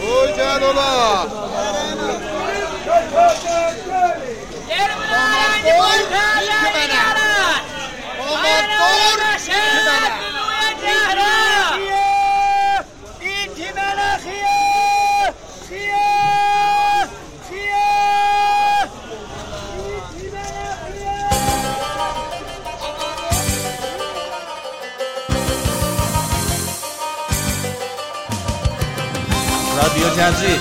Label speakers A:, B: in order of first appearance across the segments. A: Tuğcan ola.
B: رادیو جزیره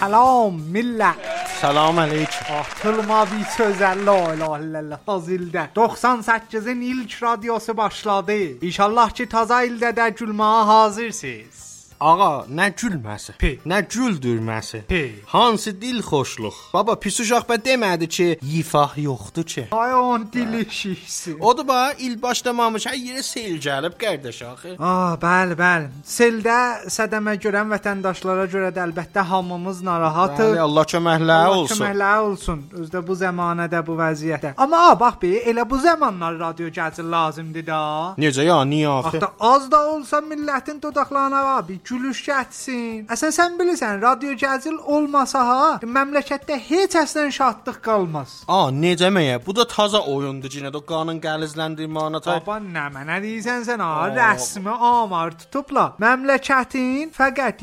C: سلام millet.
B: سلام علیکم
C: Atılma Ah, bir sözel la ilahe illallah az ildə 98-in ilk radiosu başladı. İnşallah ki taza ildə də gülməyə hazırsınız.
B: Ağa, nə gülməsi?
C: Pi.
B: Nə güldürməsi?
C: Pi.
B: Hansı dil xoşluq? Baba, pis uşaq bə demədi ki, yifah yoxdur ki.
C: Ay on dil işisi.
B: O da bax il başlamamış, hər yerə sel gəlib qardaş axı.
C: Ah, bəli, bəli. Seldə sədəmə görən vətəndaşlara görə də əlbəttə hamımız narahatıq.
B: Bəli, Allah köməklə
C: Allah
B: olsun.
C: köməkləri olsun. Özdə bu zəmanədə, bu vəziyyətdə. Amma ha, bax be, elə bu zamanlar radio gəzir lazımdır da.
B: Necə ya, niyə axı?
C: Axı az da olsa millətin dodaqlarına var, bir gülüş gətsin. Əsən sən bilirsən, radio gəzil olmasa ha, məmləkətdə heç əslən şadlıq qalmaz.
B: A, necə məyə? Bu da taza oyundur, yenə də qanun qəlizləndirmə anata.
C: Baba nə mənə deyirsən sən ha, rəsmi amar tutubla. Məmləkətin fəqət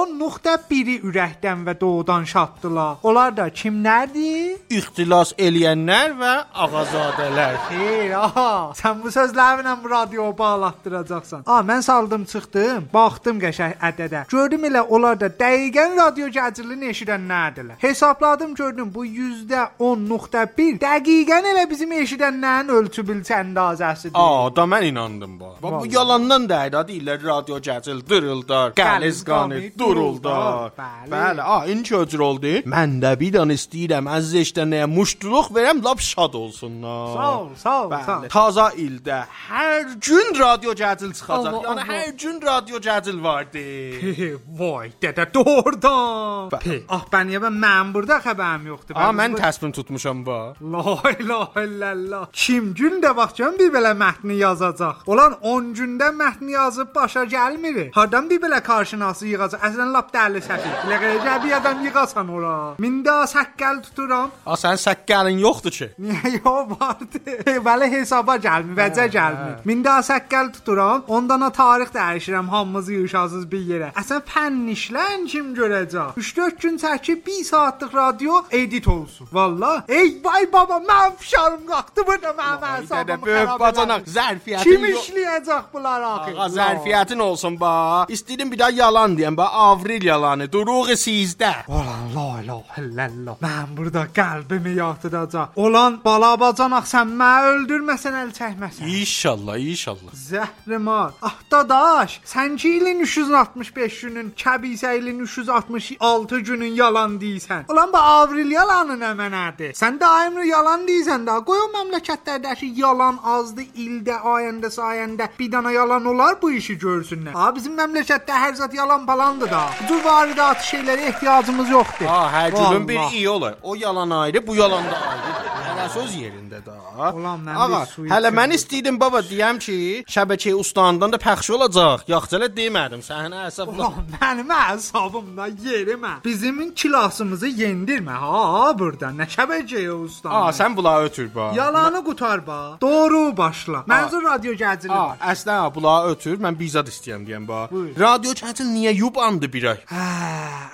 C: 10%-i ürəkdən və doğudan şaddılar. Onlar da kimlərdir?
B: İxtilas eləyənlər və ağazadələr.
C: Xeyr, aha. Sən bu sözlərlə bu radioya bağlatdıracaqsan. A, mən saldım çıxdım, baxdım qəşəng ədədə. Gördüm elə onlar da dəqiqən radio gəcirini eşidənlərdirlər. Hesabladım gördüm bu 10.1 dəqiqən elə bizim eşidənlərin ölçü bilçə
B: A,
C: əndazəsidir.
B: da mən inandım bu. Bax bu yalandan dəyir, ha, deyirlər radio gəcil dırıldar, qəliz qanı duruldar.
C: Bəli.
B: Bəli, a, inç öcür oldu. Mən də bir dan istəyirəm az eşdənəyə muştuluq verəm, lap şad olsunlar.
C: Sağ ol, sağ ol, sağ ol.
B: Bəli. Taza ildə hər gün radio gəcil çıxacaq.
C: Allah,
B: Yəni
C: Allah.
B: hər gün radio gəcil vardı.
C: Vay dədə doğrudan.
B: Bəli.
C: Ah bəniyə ben mən burada xəbərim yoxdur.
B: A,
C: biz
B: mən
C: bu-
B: təsmin tutmuşam bu.
C: La ilahe illallah. Kim gündə baxcan bir belə mətni yazacaq? Olan 10 gündə mətni yazıb başa gəlmir. Hardan bir belə qarşınası yığacaq? Əslən lap dəli səfi. Ləqəcə bir adam yığasan ora. Mində səkkəl tuturam.
B: A, sənin səkkəlin yoxdur ki.
C: Niyə yox vardı? Bəli hesaba gəlmir, vəcə gəlmir. Mində səkkəl tuturam. Ondan da tarix dəyişirəm, hamımız yığışasız bir yerə. Əsən fənnişlən kim görəcək? 3-4 gün çəkib 1 saatlıq radio edit olsun. Vallah. Ey vay baba, mən fişarım qalxdı burada mənim
B: Dədə
C: hesabım.
B: böyük bacanaq zərfiyyətin
C: Kim
B: yox-
C: işləyəcək bunlar axı?
B: Ağa zərfiyyətin olsun ba. İstədim bir daha yalan deyəm ba. Avril yalanı. Duruğu sizdə.
C: Olan la ilahe illallah. Mən burada qəlbimi yatıracaq. Olan balabacanaq sən məni öldürməsən əl çəkməsən.
B: İnşallah, inşallah.
C: Zəhrimar. Ah dadaş, sən ki ilin 365 günün, kəbisə ilin 366 günün yalan deyirsən. Ulan bu avril yalanı nə mənədir? Sən daimli yalan deyirsən da. Qoy o məmləkətlərdəki yalan azdır, ildə, ayəndə, sayəndə bir dana yalan olar bu işi görsünlər. Ha bizim məmləkətdə hər zət yalan balandır da. Bu varidat şeylərə ehtiyacımız yoxdur.
B: Ha, hər günün hə, bir
C: Vallahi.
B: iyi olur. O yalan ayrı, bu yalan da ayrı. Hələ söz yerində də.
C: Ulan mən
B: Ağa,
C: bir suyu
B: hələ mən
C: içirdim.
B: istəyirdim baba deyəm ki, şəbəkə ustandan da pəxş olacaq. Yaxcələ demədim. hə, Səhnə əsəb.
C: Ulan mənim əsabımda yerimə. Bizimin kilasımızı yendirmə ha burada. Nə kəbəcəyə usta.
B: A, sən bula ötür ba.
C: yalanı qutar ba. Doğru başla. Mənzur radio gəzili
B: A,
C: var.
B: əslən ha, bula ötür. Mən bizad istəyirəm deyəm ba.
C: Buyur.
B: Radio çətin niyə yubandı bir ay?
C: Hə,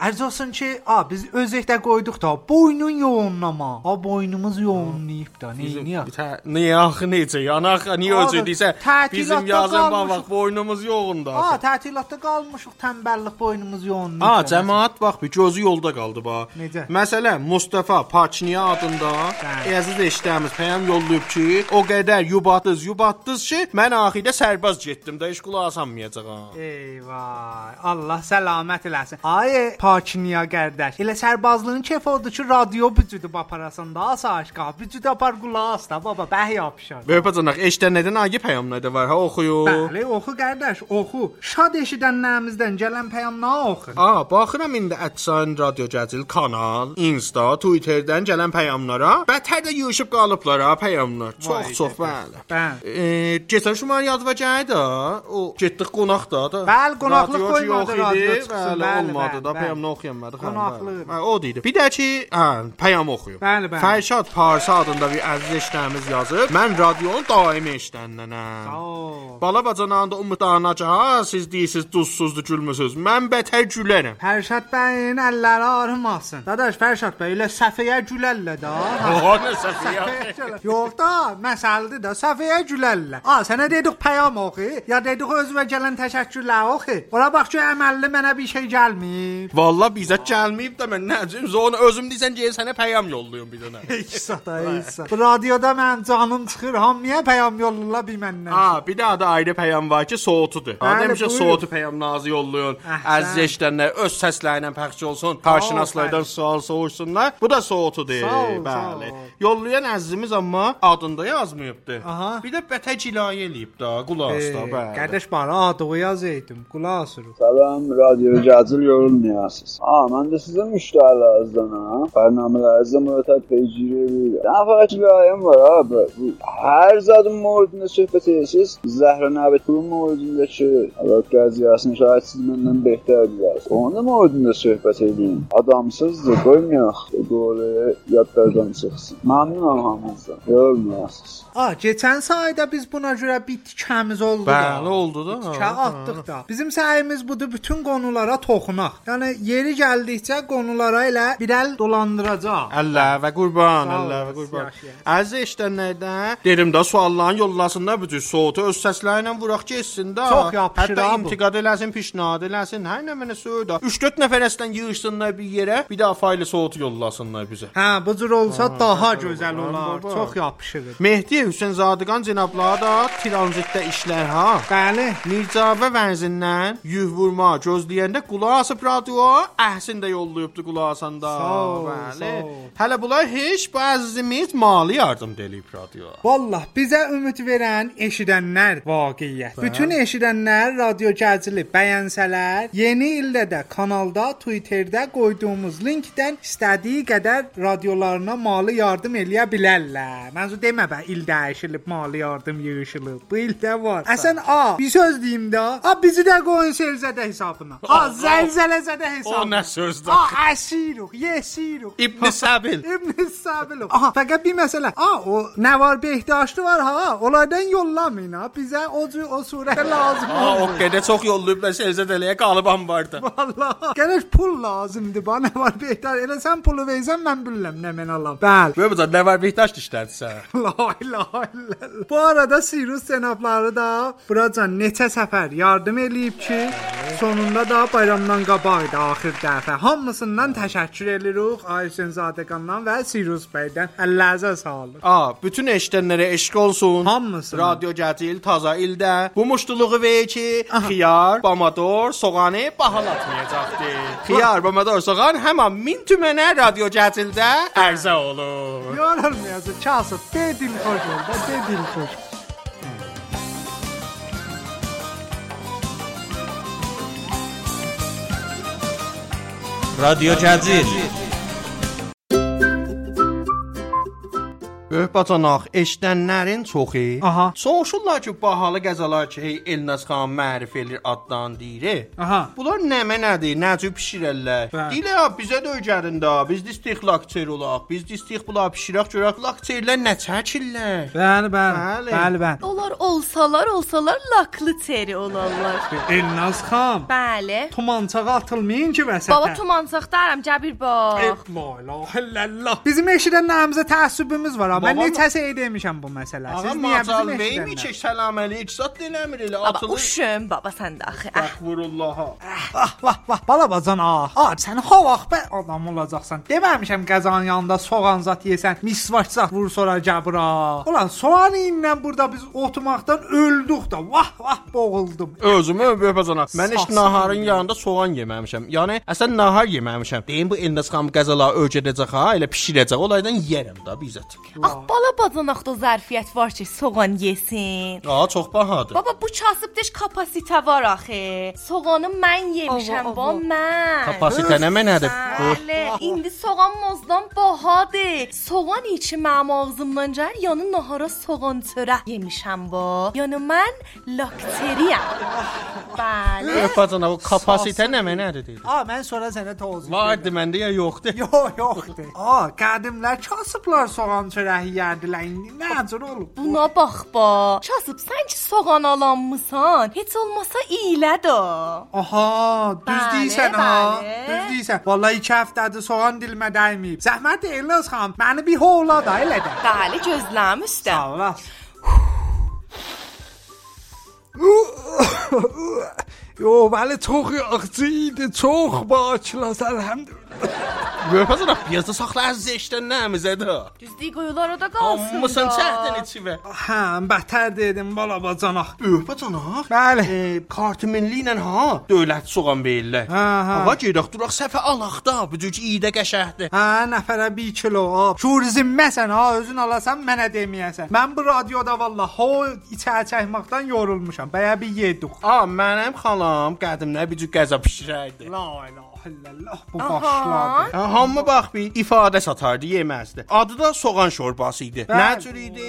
C: ərz olsun ki, a biz özəkdə qoyduq da boynun yoğunlama. A boynumuz yoğunlayıb da. Niyə?
B: Tə- Niyə axı necə? Yanaq niyə
C: Oğlum,
B: öcüdüsə?
C: tətilatda
B: Bizim yazın
C: qalmışıq.
B: bax boynumuz yoğundu.
C: A
B: axı.
C: tətilatda qalmışıq, tənbəllik boynumuz yoğunlayıb.
B: A,
C: da.
B: cəmaət bax bir gözü yolda qaldı bax.
C: Necə? Hə.
B: Məsələn, Mustafa Paçniya adında
C: Bəli.
B: ey əziz eşitdiyimiz peyam yollayıb ki, o qədər yubatdız, yubatdız ki, mən axirdə sərbaz getdim də iş qulağı sanmayacağam.
C: Eyvah, Allah səlamət eləsin. Ay Pakiniya qardaş, elə sərbazlığın kef oldu ki, radio bücüdü aparasında, asayiş qab, gücü tapar qulaq as da baba, bəh yapışar.
B: Böyüpacanaq eşdənədən agi pəyamnədə var hə, ha oxuyur.
C: Bəli, oxu qardaş, oxu. Şad eşidənlərimizdən gələn peyamna oxu.
B: A, baxıram indi əksan radio gəzil kanal, Insta, Twitterdən gələn pəyamlara, bətər də yığılıb qalıblar ha pəyamlar. Çox çox bəli.
C: Bəli.
B: E, Keçən şumanı yadıva gəldi ha. O getdik qonaq da da.
C: Bəli, qonaqlıq
B: Radio ki
C: qoymadı,
B: yox idi.
C: radio çıxsın,
B: Bəli,
C: bəli,
B: olmadı
C: bəli,
B: da
C: bəli.
B: pəyamını oxuyamadı. xanım,
C: Qonaqlıq.
B: bəli. Hə, o deyildi. Bir də ki, hə, pəyam oxuyub.
C: Bəli, bəli.
B: Fərşad Parsa adında bir əziz eşdəmiz yazıb. Mən radionun daimi hə. eşdənlənəm.
C: Oo.
B: Bala bacananda umudlanacaq, siz deyirsiz duzsuzdur, gülmüsüz. Mən bətər gülərəm.
C: Fərşad bəyin əlləri arımasın. Dadaş Fərşad bəy elə səfəyə gülərlə də.
B: Oha, nə səfiyyə.
C: Səfəyə gülərlə. Yox da, məsələdir də səfəyə gülərlə. A, sənə dedik peyam oxu, ya dedik özünə gələn təşəkkürlər oxu. Ora bax ki, əməlli mənə bir şey gəlmir.
B: Valla bizə gəlməyib də mən nə edəcəm? Zona özüm deyirsən gəl sənə pəyam yollayım bir dənə.
C: İksa da, iksa. Bu radioda mən canım çıxır, hamıya peyam yollula bir məndən.
B: Aa, bir daha da ayrı peyam var ki, soğutudur. Ha,
C: Bəli,
B: demişə
C: buyur. Ah,
B: soğutu peyam nazı yollayın.
C: Əhsən.
B: Əziz eşdənlər öz səsləri ilə pəxş olsun. Qarşınaslardan sual soruşsunlar. Bu da soğutudur.
C: Sağ ol, sağ
B: Bəli.
C: ol.
B: Yollayan əzizimiz amma adında yazmayıbdı.
C: Aha.
B: Bir də bətə cilayə eləyib də, qulaq as da,
C: Ee,
B: bəli.
C: Kardeş bana adı yazıydım. Kulağı sürü.
D: Salam, radyo Cazil yorulmayasınız. Aa, mən də sizin müştərilərinizdən ha. Proqramlarınızı mürəkkəb təcrübə. Daha fərqli bir ayım var ha. Bu, bu hər zadın mövzusunda söhbət edirsiniz. Zəhra Nəbət Qulun mövzusunda ki, şey, Allah qaziyasını şahid siz məndən betər bilərsiniz. Onun mövzusunda söhbət edin. Adamsızdır, qoymayaq. Qoru yadlardan çıxsın. Məmnunam hamınızdan. Yorulmayasınız.
C: Aa, geçen sayda biz buna görə bir tikəmiz oldu
B: Bəli,
C: da.
B: oldu da.
C: Tikə atdıq da. Bizim səyimiz budur bütün qonulara toxunaq. Yəni yeri gəldikcə qonulara elə bir əl dolandıracaq.
B: Allah və qurban,
C: Sağ ol,
B: Allah və qurban.
C: yaxşı, yaxşı.
B: Əziz eşdənlərdən dedim də sualların yollasınlar bütün soğutu öz səsləri ilə vuraq keçsin də.
C: Çox yapışır
B: Hətta
C: ha bu.
B: intiqad eləsin, pişnad eləsin, hər nə mənə söylə. 3-4 nəfərəsdən yığışsınlar bir yerə, bir də faylı soğutu yollasınlar bizə.
C: Hə, bu cür olsa daha gözəl
B: baba,
C: olar.
B: baba.
C: Çox yapışır.
B: Mehdi Hüseynzadığan cənabları da tranzitdə işlər ha.
C: Bəli.
B: Mircavə vənzindən yüh vurma gözləyəndə qulaq asıb radio əhsin də yollayıbdı qulaq asanda.
C: Sağ ol,
B: Bəli.
C: sağ ol.
B: Hələ bunlar heç bu əzizimiz mali yardım da eləyib radio.
C: Vallah bizə ümid verən eşidənlər vaqiət. Bütün eşidənlər radio gəzili bəyənsələr, yeni ildə də kanalda, Twitterdə qoyduğumuz linkdən istədiyi qədər radiolarına mali yardım eləyə bilərlər. Mənzur demə bə il dəyişilib mali yardım yığılıb. Bu ildə var. Əsən a, bir söz deyim də. A bizi də qoyun Selzədə hesabına. A zəlzələzədə hesabına.
B: O nə sözdür?
C: A əsiruq, yesiruq.
B: İbn Səbil.
C: İbn Sabilov. Aha fakat bir mesele. Aa o ne var Behtaşlı var ha. Olaydan yollamayın ha. Bize o, cü- o sure lazım.
B: Ha, o
C: oldu.
B: qədər çox yollayıblar Səzədəliyə qalıbam vardı.
C: Vallahi. Geniş pul lazımdı bana var Behtaş. Elə sən pulu versən mən bilmem ne men alam. Bəli.
B: Böyübəcə nə var Beytaş dişlərsə.
C: La la Bu arada Sirus senapları da buracan neçə səfər yardım eləyib ki, sonunda da bayramdan qabaq da axir dəfə hamısından təşəkkür eləyirik Ayşən Zadəqandan və Sirus bəydən. Əllərinizə sağlıq.
B: A, bütün eşdənlərə eşq olsun.
C: Hamısına.
B: Radio Gətil taza ildə bu muştuluğu ver ki, xiyar, bamador, soğanı bahalatmayacaqdı. Xiyar, bamador, soğan həmin 1000 tümənə Radio Gətildə ərzə olur.
C: Yorulmayasın çalsın. De dil hoş ol. da, De dil hoş.
E: رادیو جزیل
B: Böyübacanaq Öh, eşdənlərin çoxu.
C: Aha.
B: Soruşurlar ki, bahalı qəzalar ki, hey Elnaz xan mərif eləyir addan deyir.
C: Aha.
B: Bunlar nəmə nədir? Nəcib pişirəllər.
C: Bəli.
B: Deyirlər, "Ha, bizə də öyrədin də. Biz də istiq lakçer olaq. Biz də istiq bunlar pişirək görək lakçerlər nə çəkirlər."
C: Bəli,
B: Bəli.
C: bəli. Bəli, bəli.
F: Onlar olsalar olsalar laklı teri olarlar.
C: Elnaz xan,
F: Bəli.
C: tumançağa atılmayın ki vəsətə.
F: Baba tumansaq daram Cəbir
C: E,
F: bax.
C: La ilahe illallah. Bizim eşidənlərimizə təəssübümüz var amma
B: Baba-
C: neçəsə edəmişəm bu məsələ.
B: Ağam
C: Siz niyə
B: macal
C: bizim
B: neymi çək
C: eşidənlər?
B: salam əleyküm. Zat eləmir elə
F: Baba
B: atılır.
F: uşum baba sən də axı. Ah,
B: Əxvurullaha.
C: Ah, vah, vah, balabacan ah. Ah, sən ha vaxt bə adam olacaqsan. Deməmişəm qəzanın yanında soğan zat yesən, misvaç zat vur sonra gəbra. Ulan soğan ilə burada biz oturmaqdan öldük də. Vah, vah, boğuldum.
B: Özümü böyüpəcənə. Mən heç
C: Sağ-
B: naharın yanında soğan yeməmişəm. Yəni əsən nahar yeməmişəm. Deyim bu Elnaz xan qəzalar öyrədəcək ha, elə pişirəcək. Olaydan yeyərəm də bizət.
F: axı Bax, ah, bala bacanaq da zərfiyyət var ki, soğan yesin.
B: Aa, çox bahadır.
F: Baba bu kasıbdeş kapasitə var axı. Soğanı mən yemişəm, bu mən.
B: Kapasitə nə mənədir?
F: Bəli, indi soğan mozdan bahadır. Soğan içi mənim ağzımdan gəlir, yanı nahara soğan çörə yemişəm bu. Yəni mən lakteriyam. Bəli.
B: Öpəcənə bu kapasitə nə mənədir deyir.
C: Aa mən sonra sənə təvəzzül.
B: Vardı məndə ya yoxdur.
C: Yox, yoxdur. Aa, qədimlər kasıblar soğan çörəyi yerdilər. İndi Nə cür olub?
F: Buna bax ba. Kasıb sən ki soğan alanmısan, heç olmasa iylədir.
C: Aha, düz
F: Bəli,
C: deyirsən ha.
F: bəli.
C: Düz deyirsən. Vallahi 2 həftədir soğan dilimə dəyməyib. Zəhmət Elnaz xan, məni bir hola da elə də.
F: Bəli, gözləm üstə.
C: Sağ olas.
E: Jo, ولی çok yakıcıydı, çok bağışlasın hem de.
B: Öpəcənə piyazda saxlar zəşdən nəmizədir.
F: Düzdük qoyular da qalsın.
B: Amma
F: da.
B: çəhdin içivə.
C: Hə, bətər dedim bala bacanaq.
B: Öpəcənə.
C: Bəli.
B: Kart milli ilə Eh, ha, dövlət soğan verirlər.
C: Hə, hə.
B: Hava gedək duraq səfə alaqda, bucuq iyidə qəşəhdir.
C: Hə, nəfərə 1 kilo ab. Şurizm məsən ha, özün alasan mənə deməyəsən. Mən bu radioda vallahi ho içə çəkməkdən yorulmuşam. Bəyə bir yedik.
B: A, mənim xalam qədimdə bucuq qəza bişirərdi.
C: La ilahe illallah bu
F: Aha.
C: başladı.
B: Ha, Hə, Hamı bax bir ifadə satardı, yeməzdi. Adı da soğan şorbası idi.
C: Bəli.
B: Nə cür idi?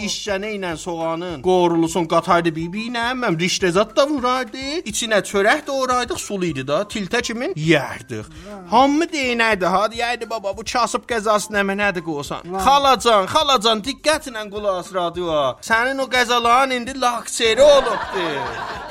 B: İşçənə ilə soğanın qorulusun qatardı bibi ilə, mən riştəzat da vurardı. İçinə çörək doğraydıq, sulu idi da, tiltə kimi yeyərdik. Hamı deyinərdi, ha deyərdi baba bu kasıb qəzası nə mənədir qoysan. Xalacan, xalacan diqqətlə qulaq as radioya. Sənin o qəzaların indi lakseri olubdu.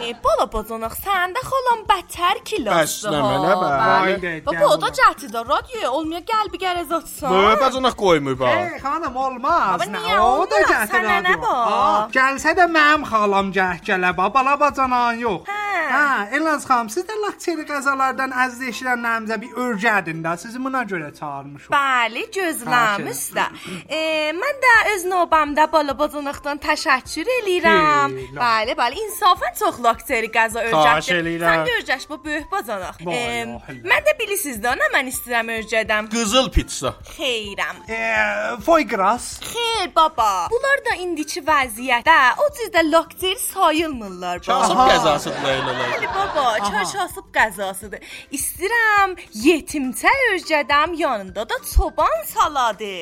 F: E, bala bacanaq, səndə xalam bətər kilosdur.
B: Bəs nə mənə bə?
C: Haydi,
F: Baba
C: gəl
F: o da
C: bura.
F: cəhdi də radioya olmuyor, gəl bir gərəzatsan.
B: Böybəcənə qoymur bax.
C: Ey xanım olmaz.
F: Baba,
C: nə,
F: niyə
C: o da
F: olmaz?
C: gətir
F: Sənə nə
C: radio.
F: var?
C: Aa, Gəlsə də mənim xalam gəh gələ ba, bala bacanan yox.
F: Hə.
C: Hə, Elaz xanım, siz də lakteri qəzalardan əzizləşirən nəmizə bir örgədin də, sizi buna görə çağırmışam.
F: Bəli, gözləm
C: Aferin.
F: üstə. E, mən də öz növbəmdə bala bacanaqdan təşəkkür eləyirəm.
C: Hey, la.
F: Bəli, bəli, insafən çox lakteri qəza
B: Xahiş
F: örgətdir.
B: eləyirəm.
F: Sən də örgəş bu böyük bacanaq.
C: Vay,
F: Em,
C: vay.
F: mən də bilirsiz də, nə mən istəyirəm örgədəm.
B: Qızıl pitsa.
F: Xeyrəm.
C: E, Eee, foygras.
F: Xeyr baba. Bunlar da indiki vəziyyətdə o cüzdə lokter sayılmırlar baba.
B: Kasıb qəzasıdır leylələr.
F: Bəli baba, çaşasıb qəzasıdır. İstirəm yetimçə özgədəm yanında da çoban saladı.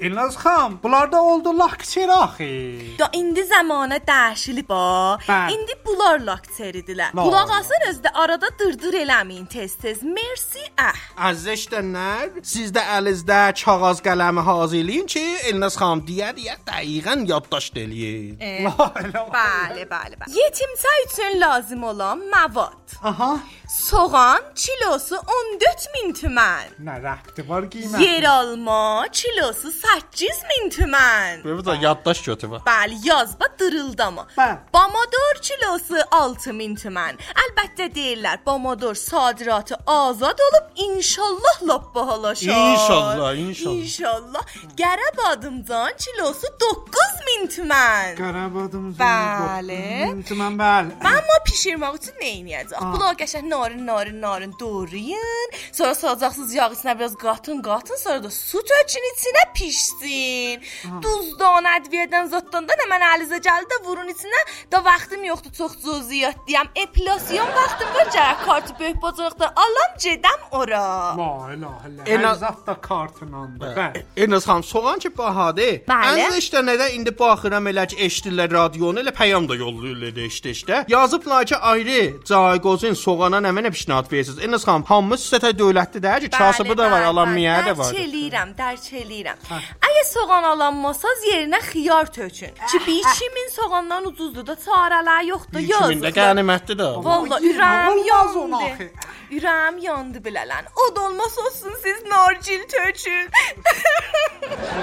C: Elaz xanım, bunlar da oldu lakteri axı.
F: Da indi zəmanə dəyişilib ha.
C: Bəli.
F: İndi bunlar lokteridilər.
C: Vay.
F: Qulaq asın özdə arada dırdır eləməyin tez-tez. Mersi ah.
B: Əzizləşdənlər, siz də əlinizdə kağız qələmi hazırlayın ki, Elnaz xanım deyə deyə dəqiqən yaddaşd eləyin.
F: E, Bəli, bəli, bəli. Yetimçə üçün lazım olan məvad.
C: Aha,
F: Soğan kilosu 14 min tümən.
C: nə rəbti var qiymət?
F: Yer alma kilosu 8 min tümən.
B: Böyük də yaddaş götürə.
F: Bəli, yazba dırıldama.
C: Bəli.
F: Pomodor kilosu 6 min tümən. Əlbəttə deyirlər, pomodor sadiratı azad olub inşallah lap bahalaşar.
B: İnşallah, inşallah.
F: İnşallah. Qərəb adımdan kilosu 9 min tümən.
C: Qarabadımız.
F: Bəli.
C: Mən bəli.
F: Amma pişirmək üçün nə edəcək? Bunlar qəşəng narin, narin, narin doğrayın. Sonra salacaqsınız yağ içinə biraz qatın, qatın, sonra da su tökün içinə pişsin. Duzdan, ədviyədən, zotdan da nə mən əlinizə gəldi də vurun içinə. Da vaxtım yoxdur, çox zoziyat deyəm. Epilasyon vaxtım var, cərək kartı böyük bacarıqda alam gedəm ora.
C: La ilahe illallah.
B: Elaz-
C: Elaz da kartınan da. Bəli.
B: Elnaz xanım soğan ki bahadır.
F: Bəli.
B: Əzizləşdənlərə indi baxıram elə ki eşidirlər radionu, elə peyam da yolluyurlar eşitdikdə. Yazıblar ki ayrı cayqozun soğana nə mənə pişnat verirsiniz. Elnaz xanım hamı sizə dövlətli də ki, kasıbı da var, alanmayə də Hə. var.
F: Dərk eləyirəm, dərk eləyirəm. Əgər soğan alanmasaz yerinə xiyar tökün.
C: Hə,
F: Ki 2000 soğandan ucuzdur da çarələr yoxdur,
B: Kimində
F: yazıqlar.
B: qənimətdir də.
F: Valla
C: Ay,
F: ürəm
C: olmaz ona
F: yandı.
C: axı.
F: Ürəm yandı bilələn. O da olmaz olsun siz nargil tökün.
B: Hə.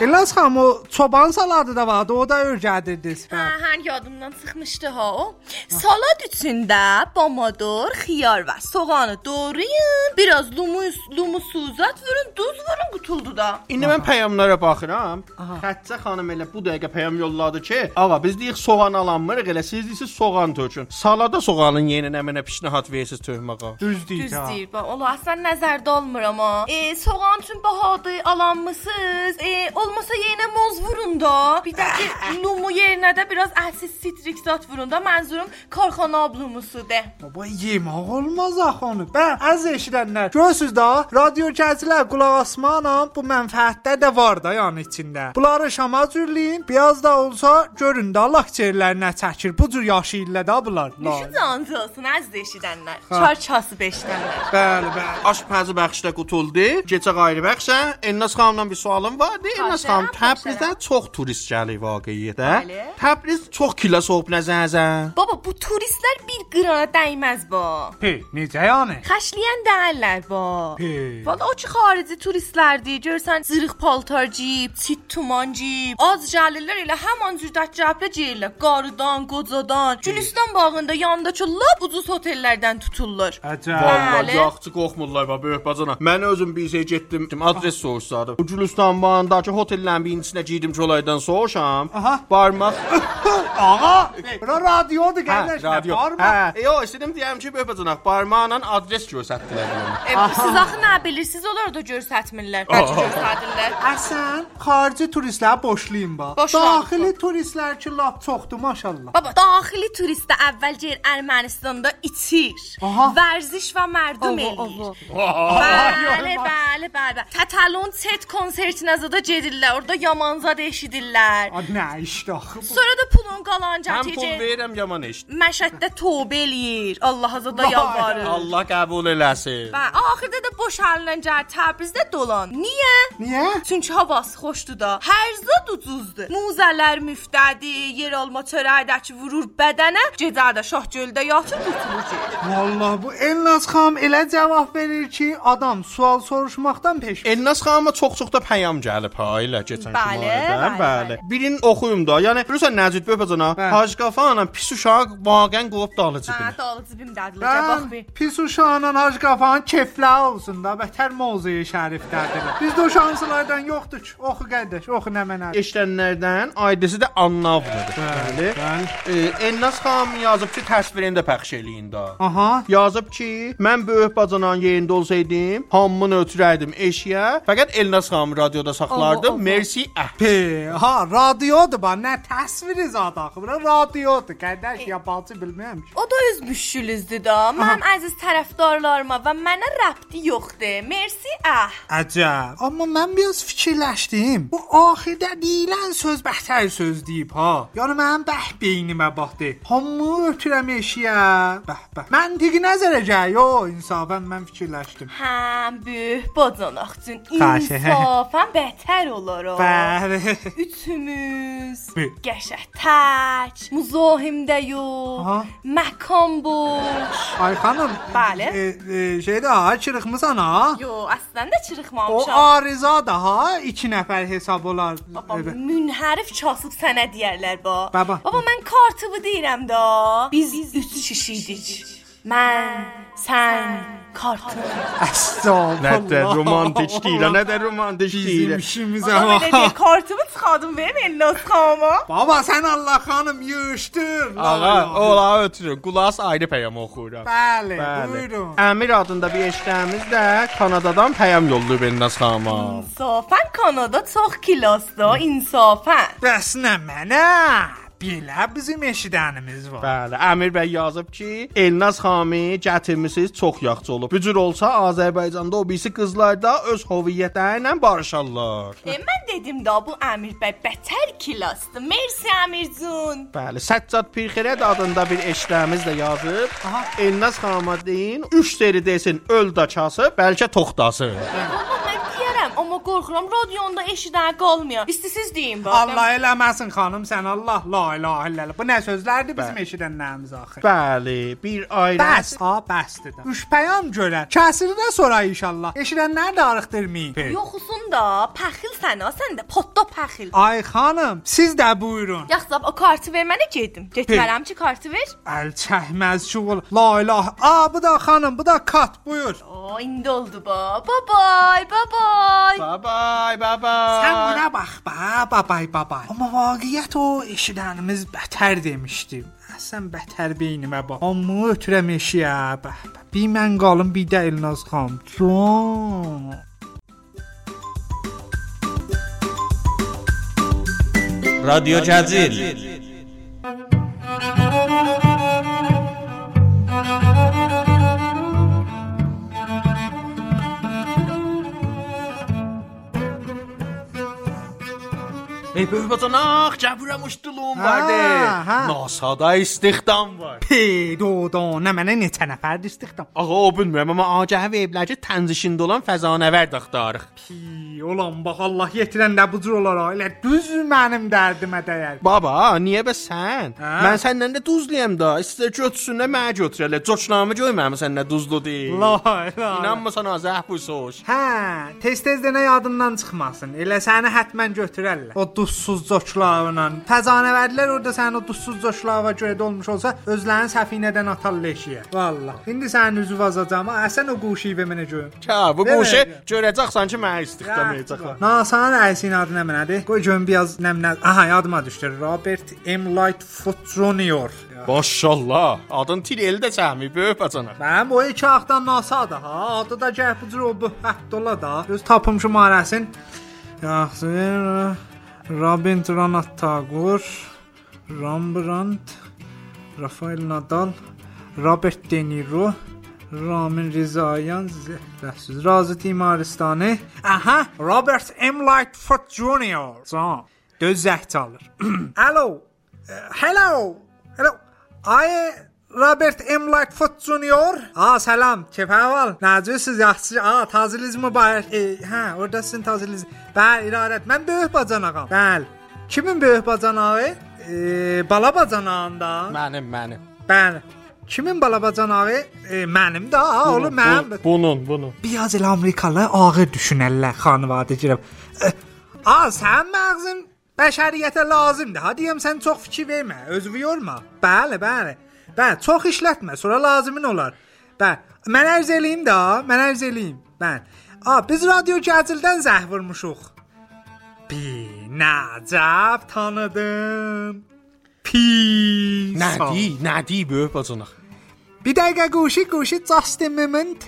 C: Elaz xanım o çoban saladı da vardı, o da örgədirdiniz.
F: hə, hə, yadımdan çıxmışdı ha o. Salat içində pomidor, xiyar və soğanı doğrayın. Biraz lumus, lumusuzat vurun, duz vurun qutuldu da.
B: İndi mən peyamlara baxıram. Xətçə xanım elə bu dəqiqə peyam yolladı ki, ağa biz deyək soğan alanmırıq, elə siz deyirsiz soğan tökün. Salada soğanın yeni nəmənə pişnahat versiz töhməqa.
C: Düz deyir.
F: Düz
C: ha.
F: deyir. Bax, ola əslən nəzərdə olmur amma. E, soğan üçün bahadır, alan mısınız? Ee, olmasa yerine moz vurun da. Bir de ki numu yerine de biraz asit sitriksat vurun da. Menzurum korkana ablumusu de.
C: Baba yemək olmaz axı onu. Bə, əziz eşidənlər, görürsüz da, radio kəslər qulaq asmanam, bu mənfəətdə də var da yəni içində. Bunları şama cürləyin, biraz da olsa görün də Allah çerlərinə çəkir. Bu cür yaşayırlar da bunlar. Lay.
F: Şu canınızı olsun aziz eşidənlər. Çarçası beşdənlər.
C: Bəli, bəli.
B: Aşpazı bəxşdə qutuldu. Gecə ayrı bəxşə. Elnaz xanımdan bir sualım var. Elnaz xanım,
F: Xahiş edirəm,
B: Təbrizə
F: xahiş
B: çox turist gəlir vaqiətə.
F: Bəli.
B: Təbriz çox kilə soğub nəzərzən.
F: Baba bu turistlər bir qırana dəyməz bu.
C: Hey, necə yəni?
F: Xəşliyən deyirlər bu.
C: Hey.
F: Valla o ki xarici turistlərdir. Görsən zırıq paltar geyib, çit tuman geyib. Az gəlirlər elə həman cürdət cəblə geyirlər. Qarıdan, qocadan, Gülüstan bağında yanındakı lap ucuz otellərdən tuturlar.
C: Əcəb.
B: Vallahi
F: Bəli.
B: yaxşı qorxmurlar va böyük bacana. Mən özüm bir şey getdim, adres soruşsadım. Gülüstan bağındakı otellərin birincisinə girdim çolaydan soruşam.
C: Aha.
B: Barmaq. Hə,
C: Ağa, bura radiodur qardaş, nə var mı?
B: Hə, e, yo, istedim deyəm ki, böyük bacana, barmaqla adres göstərdilər mənə.
F: E, siz axı nə bilirsiniz, onlar da göstərmirlər. Bəlkə göstərdilər.
C: Əsən xarici turistlər boşlayın bax.
F: Boşlayın.
C: Daxili turistlər ki, lap çoxdur maşallah.
F: Baba, daxili turist də əvvəlcə yer Ermənistanda içir.
C: Aha.
F: Vərziş və mərdum eləyir. Bəli, bəli, bəli. Tatalon set konsertinə zada gedirlər. Orada yamanzad eşidirlər.
C: Ad nə işdi axı bu?
F: Sonra da pulun qalanca
B: Həm pul
F: təcə
B: verirəm, yaman iş.
F: məşəddə tövbə eləyir. Allah azada
C: Vay,
F: yalvarır.
B: Allah qəbul eləsin.
F: Və axırda da boşalınca Təbrizdə dolan. Niyə?
C: Niyə?
F: Çünki havası xoşdur da. Hər zad ucuzdur. Muzələr müftədi, yer alma çörəkdəki vurur bədənə, gecə də Şahgöldə yatır qutulur.
C: Vallahi bu Elnaz xanım elə cavab verir ki, adam sual soruşmaqdan peş.
B: Elnaz xanıma çox-çox da pəyam gəlib ha ilə keçən
F: Bəli,
B: şumarədən.
F: bəli,
B: Bəli.
F: bəli.
B: Birini oxuyum da. Yəni bilirsən Nəcid Bəbəcana,
C: Bəli.
B: Hacqafanla pis uşaq vaqən qovub dalıcı
F: Hə,
B: bilir.
F: dalı cibim dədilicə bax
C: Mən
F: bir.
C: pis uşağının hac qafanın keflə olsun da, bətər mövzuyu şərifdədir. Bizdə o şanslardan yoxdur ki. Oxu qardaş, oxu nə mənə.
B: Eşidənlərdən aidəsi də Annavlıdır. Bəli.
C: bəli.
B: E, Elnaz xanım yazıb ki, təsvirini də pəxş eləyin də.
C: Aha,
B: Yazıb ki, mən böyük bacananın yerində olsaydım, hamımın ötürərdim eşiyə, fəqət Elnaz xanım radioda
F: Allah,
B: saxlardım.
F: Allah.
B: Mersi əh.
C: P, ha radiodur ba, nə təsviri zad axı. Bura radiodur qardaş,
F: E-
C: yabancı bilmirəm. ki.
F: O da öz müşkülüzdür da. Mən əziz tərəfdarlarıma və mənə rəbti yoxdur. Mersi ah.
C: Əcəb. Amma mən biraz fikirləşdim. Bu axirdə deyilən söz bəhsər söz deyib ha. Yəni mənim bəh beynimə baxdı. Hamı ötürəm eşiyə. Bəh bəh. Məntiqi nəzərə gəlir. Yo, insafən mən fikirləşdim.
F: Həm böyük bacanaq üçün
C: Xahiş edirəm.
F: insafən bətər olar o.
C: Bəli.
F: Üçümüz
C: Bə-
F: qəşəng tək, muzahimdə
C: Aha.
F: yox, məkan boş.
C: Ay xanım.
F: Bəli.
C: E, e, şeydə ha, çırıxmısan ha?
F: Yo, əslində
C: O
F: çırıxmamışam.
C: arıza da ha, 2 nəfər hesab olar.
F: Baba,
C: Evet.
F: münhərif kasıb sənə deyərlər ba.
C: Baba.
F: Baba mən kartıvı deyirəm də. Biz, Biz üç kişi idik. Mən, sən, kartı.
C: Əstəğfurullah.
B: nə də romantik
C: Bizim işimizə
F: Baba belə
C: bax.
F: deyir, kartımı çıxardım verim elinə çıxama.
C: Baba sən Allah xanım yığışdır.
B: Ağa, ola ötürün. Qulaq ayrı pəyam oxuyuram.
C: Bəli,
B: Bəli.
C: buyurun.
B: Əmir adında bir eşitdiyimiz də Kanadadan pəyam yollayıb Elnaz xanıma.
F: İnsafən Kanada çox kilosdur, insafən.
C: Bəs nə mənə? Belə bizim eşidənimiz var.
B: Bəli, Əmir bəy yazıb ki, Elnaz xanımı gətirmisiniz, çox yaxşı olub. Bu cür olsa Azərbaycanda o birisi qızlar da öz hüviyyətləri ilə barışarlar.
F: E, mən dedim də bu Əmir bəy bətər kilosdur. Mersi Əmircun.
B: Bəli, Səccad Pirxirəd adında bir eşitdiyimiz də yazıb.
C: Aha.
B: Elnaz xanıma deyin, 3 deri desin, öl daçası, bəlkə toxtası.
F: Baba mən deyərəm, amma qorxuram radionda eşidən qalmıyor. İstəsiz deyin bax.
C: Allah eləməsin xanım sən Allah la ilahe illallah. Bu nə sözlərdir bizim eşidənlərimiz axı.
B: Bəli, bir ayrı.
C: Bəs, ha, bəsdir də. Üç pəyam görər. Kəsirdə sonra inşallah. Eşidənlər də arıqdırmayın.
F: Yoxusun da, paxil sən, ha, sən də potda paxil.
C: Ay xanım, siz də buyurun.
F: Yaxşı, o kartı ver mənə gedim. Getmərəm ki, kartı ver.
C: Əl çəkməz şuğul. La ilahe. A, bu da xanım, bu da kat, buyur.
F: O, indi oldu ba. Bye bye, bye bye.
B: Bye bye, bye bye.
C: Sən buna bax, ba, babay, babay. Amma vaqiət o eşidənimiz bətər demişdi. Əsən bətər beynimə bax. Amma ötürəm eşiyə. Bəh, bəh. Bir mən qalım, bir də Elnaz xan. Can.
G: رادیو جزیل
B: Ey böyük bacanaq, cəbirəm uçdulum
C: Ha,
B: vardı.
C: ha.
B: NASA-da istihdam var.
C: Pedodana mənə neçə nəfər istiqdam?
B: Ağa o bilmirəm, amma agəhə veriblər ki, tənzişində olan fəzanəvər daxtarıq.
C: Pi, olan bax Allah yetirən nə bucur olar ha. Elə düz mənim dərdimə dəyər.
B: Baba, niyə bəs sən?
C: Hə?
B: Mən səndən də duzluyam da. İstə götürsün də mənə götür. Elə coçnamı görmürəm səndən duzlu deyil.
C: Lay, lay.
B: İnanmırsan azəh bu soş.
C: Hə, tez-tez də nə yadından çıxmasın. Elə səni həttəmən götürərlər. O duzsuz coçlarla. Fəzanəvərlər orada sənin o duzsuz coçlara görə də olmuş olsa, özlərini səfinədən atar leşiyə. Vallah. İndi sənin üzü vazacam. ha. Əsən o quşiyivə mənə görüm.
B: Hə, bu
C: Nə
B: quşu
C: verəcəm?
B: görəcəksən ki, mənə istihdam edəcəklər.
C: NASA'nın rəisinin adı nə mənadır? Qoy görüm biraz nəmlə. Aha, yadıma düşdü. Robert M. Lightfoot Jr. Ya.
B: Maşallah, adın til eldə çəmi böyük bacanaq.
C: Mənim o iki axtan NASA'dır ha. Adı da gəh bu cür o böhət dola da. Öz tapımçı marəsin. Yaxşı. Rabindranath Tagore, Rembrandt, Rafael Nadal, Robert De Niro, Ramin Rizayan, Zəhləsiz, Razı Timaristani. Aha, Robert M. Lightfoot Jr. Can, göz zəh çalır. Alo, eh, hello, hello. Ay Robert M. Lightfoot Jr. Aa selam. Keyf hal? Necəsiz? Yaxşı. Aa tazeliz mübarək. E, hə, oradasın tazeliz. Bəli, idarət. Mən böyük bacanağam. Bəli. Kimin böyük bacanağı? E, bala bacanağında.
B: Mənim, mənim.
C: Bəli. Kimin bala bacanağı? E, mənim də. Aa, oğlum mənim.
B: Bunun, bunun.
C: Biraz elə Amerikalı ağır düşünərlər xanvadə girib. Eh, Aa, sən məğzin bəşəriyyətə lazımdır. Ha deyim sən çox fikir vermə, özünü yorma. Bəli, bəli. Bəli, çox işlətmə, sonra lazımın olar. Bəli. Mən ərz eləyim də, ha, mən ərz eləyim. Bəli. Aa, biz radio gəzildən zəh vurmuşuq. Pi, nəcəb tanıdım. Pi. sağ-
B: Nədi, nədi böyük bacanaq.
C: Bir dəqiqə qoşu qoşu just a moment.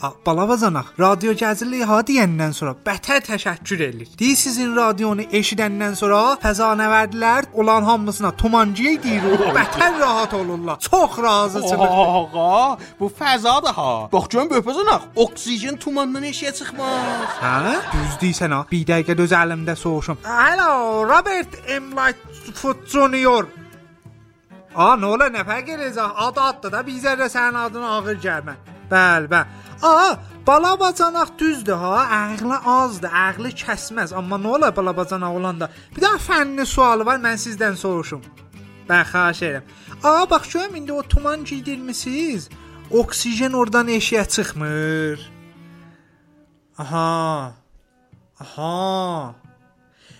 C: A, Balavazanaq, radio gəzirliyi ha deyəndən sonra bətər təşəkkür edirik. Deyir sizin radionu eşidəndən sonra fəzanəvərdlər olan hamısına tumancıya deyir, o bətər rahat olurlar. Çox razısınız.
B: Ağa, bu fəzadır ha. Bax görüm böyük bacanaq, oksigen tumandan eşiyə çıxmaz.
C: Hə? Düz deyirsən ha. Bir dəqiqə öz əlimdə soğuşum. Hello, Robert M. Lightfoot Jr. A, nə ola nə fərq eləyəcək? Adı addı da bizə də sənin adını ağır gəlmə. Bəli, bəli. A, bala bacanaq düzdür ha, ağlı azdır, ağlı kəsməz, amma nə ola bala bacanaq olanda. Bir də fənni sualı var, mən sizdən soruşum. Mən xahiş edirəm. A, bax görüm indi o tuman giydirmisiniz? Oksigen oradan eşiyə çıxmır. Aha. Aha.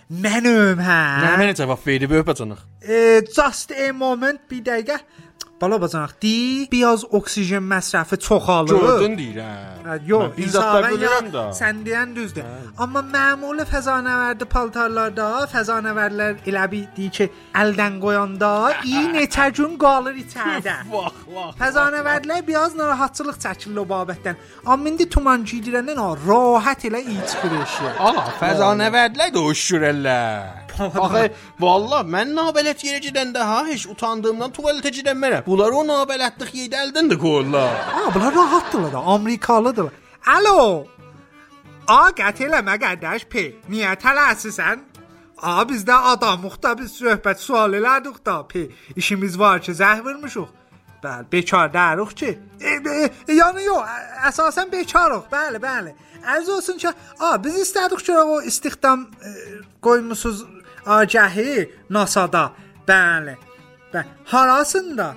C: Mənim hə.
B: Nə mənə cavab verdi böyük bacanaq?
C: E, just a moment bir dəqiqə. Cık, Bala bacanaq di, biraz oksigen məsrəfi çoxalır.
B: Gördün deyirəm.
C: Hə, Yox,
B: bizzatlar
C: insafən
B: görürəm Hə.
C: ya-
B: də.
C: Sən deyən düzdür. Amma məmuli fəzanəvərdi paltarlarda, fəzanəvərlər elə bir deyir ki, əldən qoyanda iyi neçə gün qalır içəridə.
B: Vax, vax.
C: Fəzanəvərdlər biraz narahatçılıq çəkirlər o babətdən. Amma indi tuman giydirəndən ha, rahat elə iyi çıxır eşiyə.
B: Aha, fəzanəvərdlər də uşurəllər. Axı, vallah mən nabələt yerə gedəndə ha, heç utandığımdan tualetə gedənmərəm. Bunlar o nabələtlik yerdə əldən də qoyurlar.
C: Aa, bunlar rahatdırlar da, Amerikalıdırlar. Alo. A, qət eləmə qardaş P. Niyə tələsisən? A, biz də adamıq da, biz söhbət sual elədik da P. İşimiz var ki, zəh vurmuşuq. Bəli, bekar dəruq ki. E, e, yəni yox, ə- əsasən bekarıq. Bəli, bəli. Ərz olsun ki, a, biz istədik ki, o istihdam e, qoymusunuz agəhi NASA-da. Bəli. Bəli. Harasında?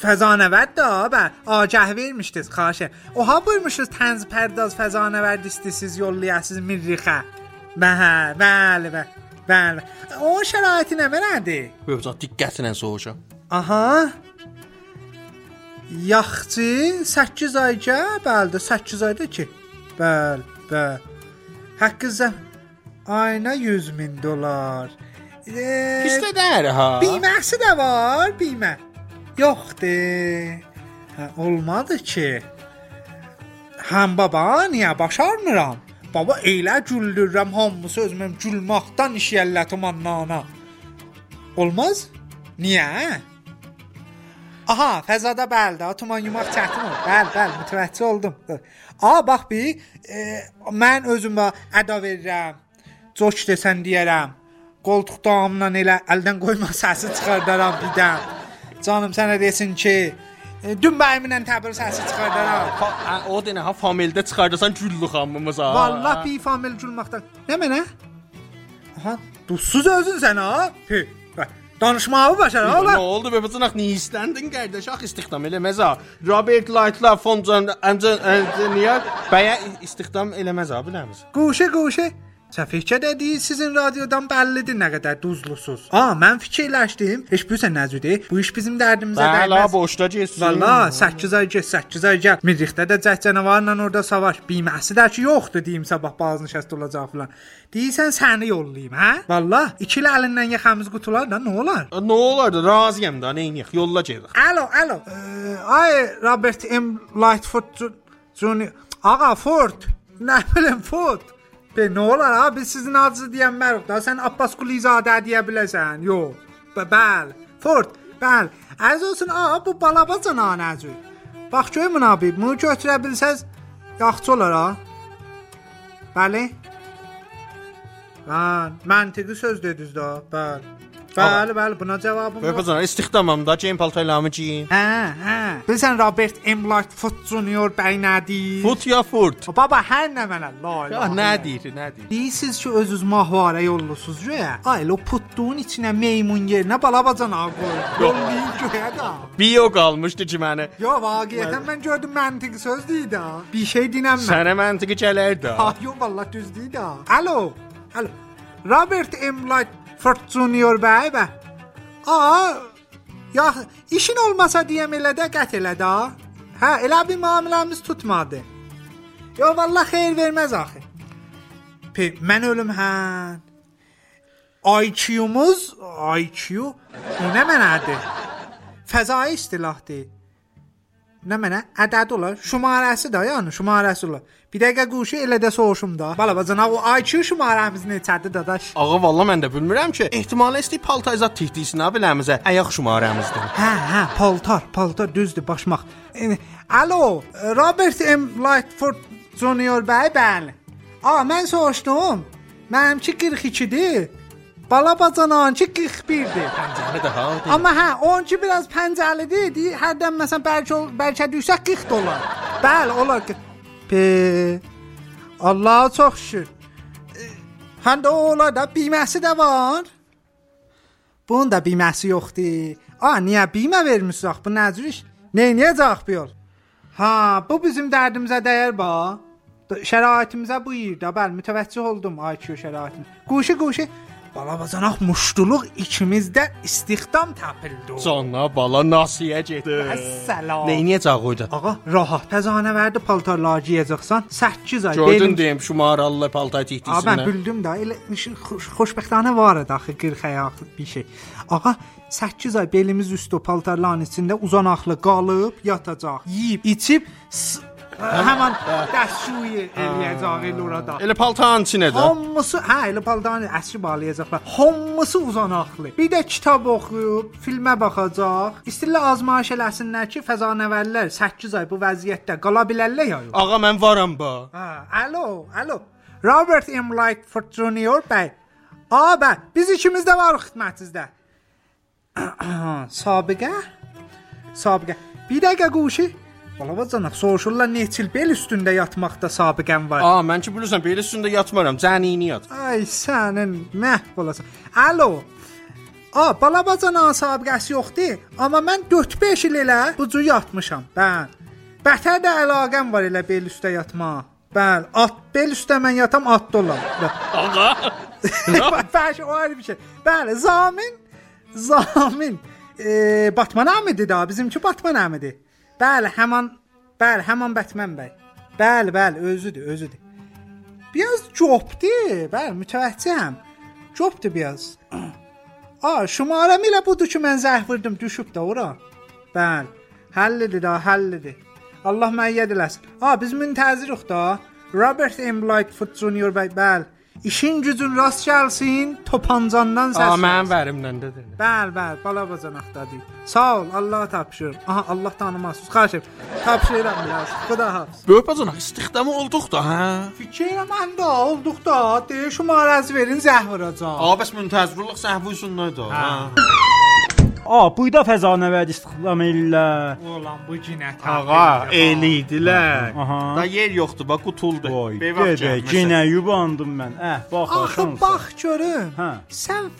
C: Fəzanəvərd də ha, bə, agah vermişdiniz, xahişə. Oha buyurmuşuz tənz pərdaz fəzanəvərd istisiz yollayasız Mirrixə. Bəhə, bəli, bəli. Bəli. O şəraiti nə mənədir?
B: Böyücan diqqətlə soruşa.
C: Aha. Yaxçı 8 ayca, bəli, 8 ayda ki. Bəli, bəli. Haqqınızda ayına 100 min dolar. Eee,
B: Pistə dər ha.
C: Biməsi də var, bimə. Yoxdur. Hə, olmadı ki. Həm baba, niyə Hə, başarmıram? Baba elə güldürürəm hamısı özüməm gülməkdən işyəllətim annana. Olmaz? Niyə? Aha, fəzada bəli də, tuman yumaq çətin olur. Bəli, bəli, mütəvəccüh oldum. A, bax bir, e, mən özümə əda verirəm. Coç desən deyərəm. Qoltuq damından elə əldən qoyma səsi çıxardaram bir də. Canım sənə desin ki, e, dün bəyimlə təbir səsi çıxardaram.
B: Ha, ə, o dənə ha famildə çıxardasan güllü xanımımıza.
C: Vallahi bir famil gülməkdən. Nə mənə? Aha, duzsuz özün sən ha? Pi. Bə, Danışmağı başar ha.
B: Ne
C: ulan.
B: oldu be bacınak niye istendin kardeş? Ah istihdam elemez ha. Robert Light'la Fonzan Engineer baya istihdam elemez abi nemiz.
C: Quşe quşe. Səfihcə dediyi sizin radiodan bəllidir nə qədər duzlusuz. A, mən fikirləşdim. Heç bilirsən nəzüdür? Bu iş bizim dərdimizə
B: Bala boşta cesin.
C: Valla 8 ay gəl, 8 ay gəl. Mirrixdə də cəh canavarla orada savaş. Biməsi də ki yoxdur deyim sabah bazı nişəst olacaq filan. Deyirsən səni yollayım, hə? Valla ikili əlindən yaxamız qutular da nə olar?
B: Ne olardı razıyım da neyin yak yolla cedik.
C: Alo, alo. Ee, ay Eh, Robert M. Lightfoot Ju- Junior. Ağa Ford. Nə bilim Ford. Be nə olar ha? Biz sizin adınızı deyən məruq da. Sən Abbas Qulizadə deyə biləsən. Yox. Bə- Bəli. Ford. Bəli. Əziz olsun, a bu balabacan anacı. Bax görüm abi, bunu götürə bilsəz yaxşı olar ha. Bəli. Bəli, məntiqli söz dediniz də. Bəli. Bəli, bəli, buna cavabım
B: Ve
C: var.
B: bacınak istihdamam da Jane Paltaylamı giyin.
C: Hə, hə. Bilirsən Robert M. Lightfoot Jr. bəy nədir?
B: Fut ya furt.
C: Baba hər nə mənə lay.
B: Ya ne deyir ne deyir.
C: Deyirsiz ki özünüz mahvara yollusunuz göyə. Ay lo putduğun içinə meymun yerinə balabacan ağ qoy. Yollayın göyə də.
B: Bir yok almıştı cimene.
C: Yo vaqiətən mən gördüm məntiqi söz deyir də. Bir şey dinəm mən.
B: Sənə məntiqi gələrdi.
C: Ha, yo vallah düz deyir də. Alo. Alo. Robert M. Lightfoot Jr. bəy bə. Aa. Ya işin olmasa deyəm elə də qət elə də. Hə, elə bir müamiləmiz tutmadı. Yo vallah xeyir verməz axı. Pe, mən ölüm hə. IQ-muz, IQ o nə mənadır? Fəzai istilahdır. Nə mənə ədəd olar, şumarəsi də yəni şumarəsi olar. Bir dəqiqə quşu elə də soruşum da. Bala bacanaq o IQ şumarəmiz neçədir dadaş?
B: Ağa valla mən də bilmirəm ki, ehtimalə isti paltayzat tikdiyisin abi nəmizə. Ayaq şumaramızdır.
C: Hə, hə, paltar, paltar düzdür, başmaq. E, Alo, Robert M. Lightford Junior bəy bəli. A, mən soruşdum. Mənimki 42-dir. Bala bacanağınki 41-dir.
B: Pəncəli də ha.
C: Amma hə, onunki biraz pəncəlidir. Deyir, hərdən məsələn bəlkə ol- bəlkə düşsə 40 dollar. Bəli, olar ki. Pe. Allaha çox şükür. E, Həm də o olar da biməsi də var. Bunun da biməsi yoxdur. A, niyə bimə vermisiniz axı? Bu nə cür iş? Nə edəcək bu yol? Ha, bu bizim dərdimizə dəyər ba. D- Şəraitimizə bu yerdə, bəli, mütəvəccüh oldum IQ şəraitim. Quşu quşu Balabacanaq muşduluq ikimizdə istihdam tapıldı.
B: Canla bala nasiyə getdi.
C: Əssalam.
B: Neyniyəcək qoydu?
C: Ağa, rahat təzanə verdi paltar laciyəcəksən. 8 ay
B: Gördün deyim şumaralı paltay
C: Ağa mən
B: tikdiyisinə.
C: bildim də elə işin xoş, xoşbəxtanə var idi axı qırxayaq bir şey. Ağa 8 ay belimiz üstü paltarların içində uzanaqlı qalıb yatacaq. Yeyib, içib s- həmin dəşuyu eləyəcək elə orada.
B: Elə paltayın içinə də.
C: Hamısı, hə, elə paltarın əsri bağlayacaqlar. Hamısı uzanaqlı. Bir də kitab oxuyub, filmə baxacaq. İstirlə azmaş eləsinlər ki, fəzanəvərlər 8 ay bu vəziyyətdə qala bilərlər ya yox.
B: Ağa mən varam ba.
C: Ha, Ah, alo, alo. Robert M. Lightfoot Jr. bəy. A, bəy, biz ikimiz də varıq xidmətinizdə. Sabiqə? Sabiqə. Bir dəqiqə quşu. Balabacanaq soruşurlar neçil bel üstündə yatmaqda sabiqəm var.
B: A, mən ki bilirsən belə üstündə yatmaram. Cənini yat.
C: Ay sənin məhv olasan. Alo. A, balabacanağın sabiqəsi yoxdur, amma mən 4-5 il elə bu cür yatmışam. Bən. Bətər də əlaqəm var elə bel üstə yatmağa. Bəli, at bel üstə mən yatam at dolam.
B: Ağa.
C: Fəş o ayrı bir şey. Bəli, zamin zamin e, Batman Əmidir da, bizimki Batman Əmidir. Bəli, həmin bəli, həmin Batman bəy. Bəli, bəli, özüdür, özüdür. Biraz copdur, bəli, mütəvəccihəm. Copdur biraz. A, şumarəm ilə budur ki, mən zəh vurdum, düşüb də ora. Bəli. Həllidir da, həllidir. Allah məyyəd eləsin. A, biz müntəziriq da. Robert M. Lightfoot Jr. bəy, bəli. İşin gücün rast gəlsin, topancandan səs.
B: Aa, mənim vərimdən də dedi.
C: Bəli, bəli, bala bacanaqdadır. Sağ ol, Allah'a tapşırıram. Aha, Allah tanımaz. Xahiş edirəm. Tapşırıram biraz. Xuda hafiz.
A: Böyük bacana istihdamı olduq da, hə?
C: Fikirlə məndə olduqda deyə şumarəz verin zəhv vuracaq.
B: Aa, bəs müntəzirlik səhvi üçün nə idi? Hə.
G: A, buyda fəzanəvəd istihdam eləyirlər.
C: Oğlan bu ginə
B: Ağa, elidilər.
G: Aha.
B: Da yer yoxdur, bax qutuldu.
G: Vay,
B: Beyvax
G: gedə,
B: gəlməsin.
G: yenə yubandım mən. Əh, bax,
C: Axı
G: axı
C: bax görüm.
G: Hə.
C: Sən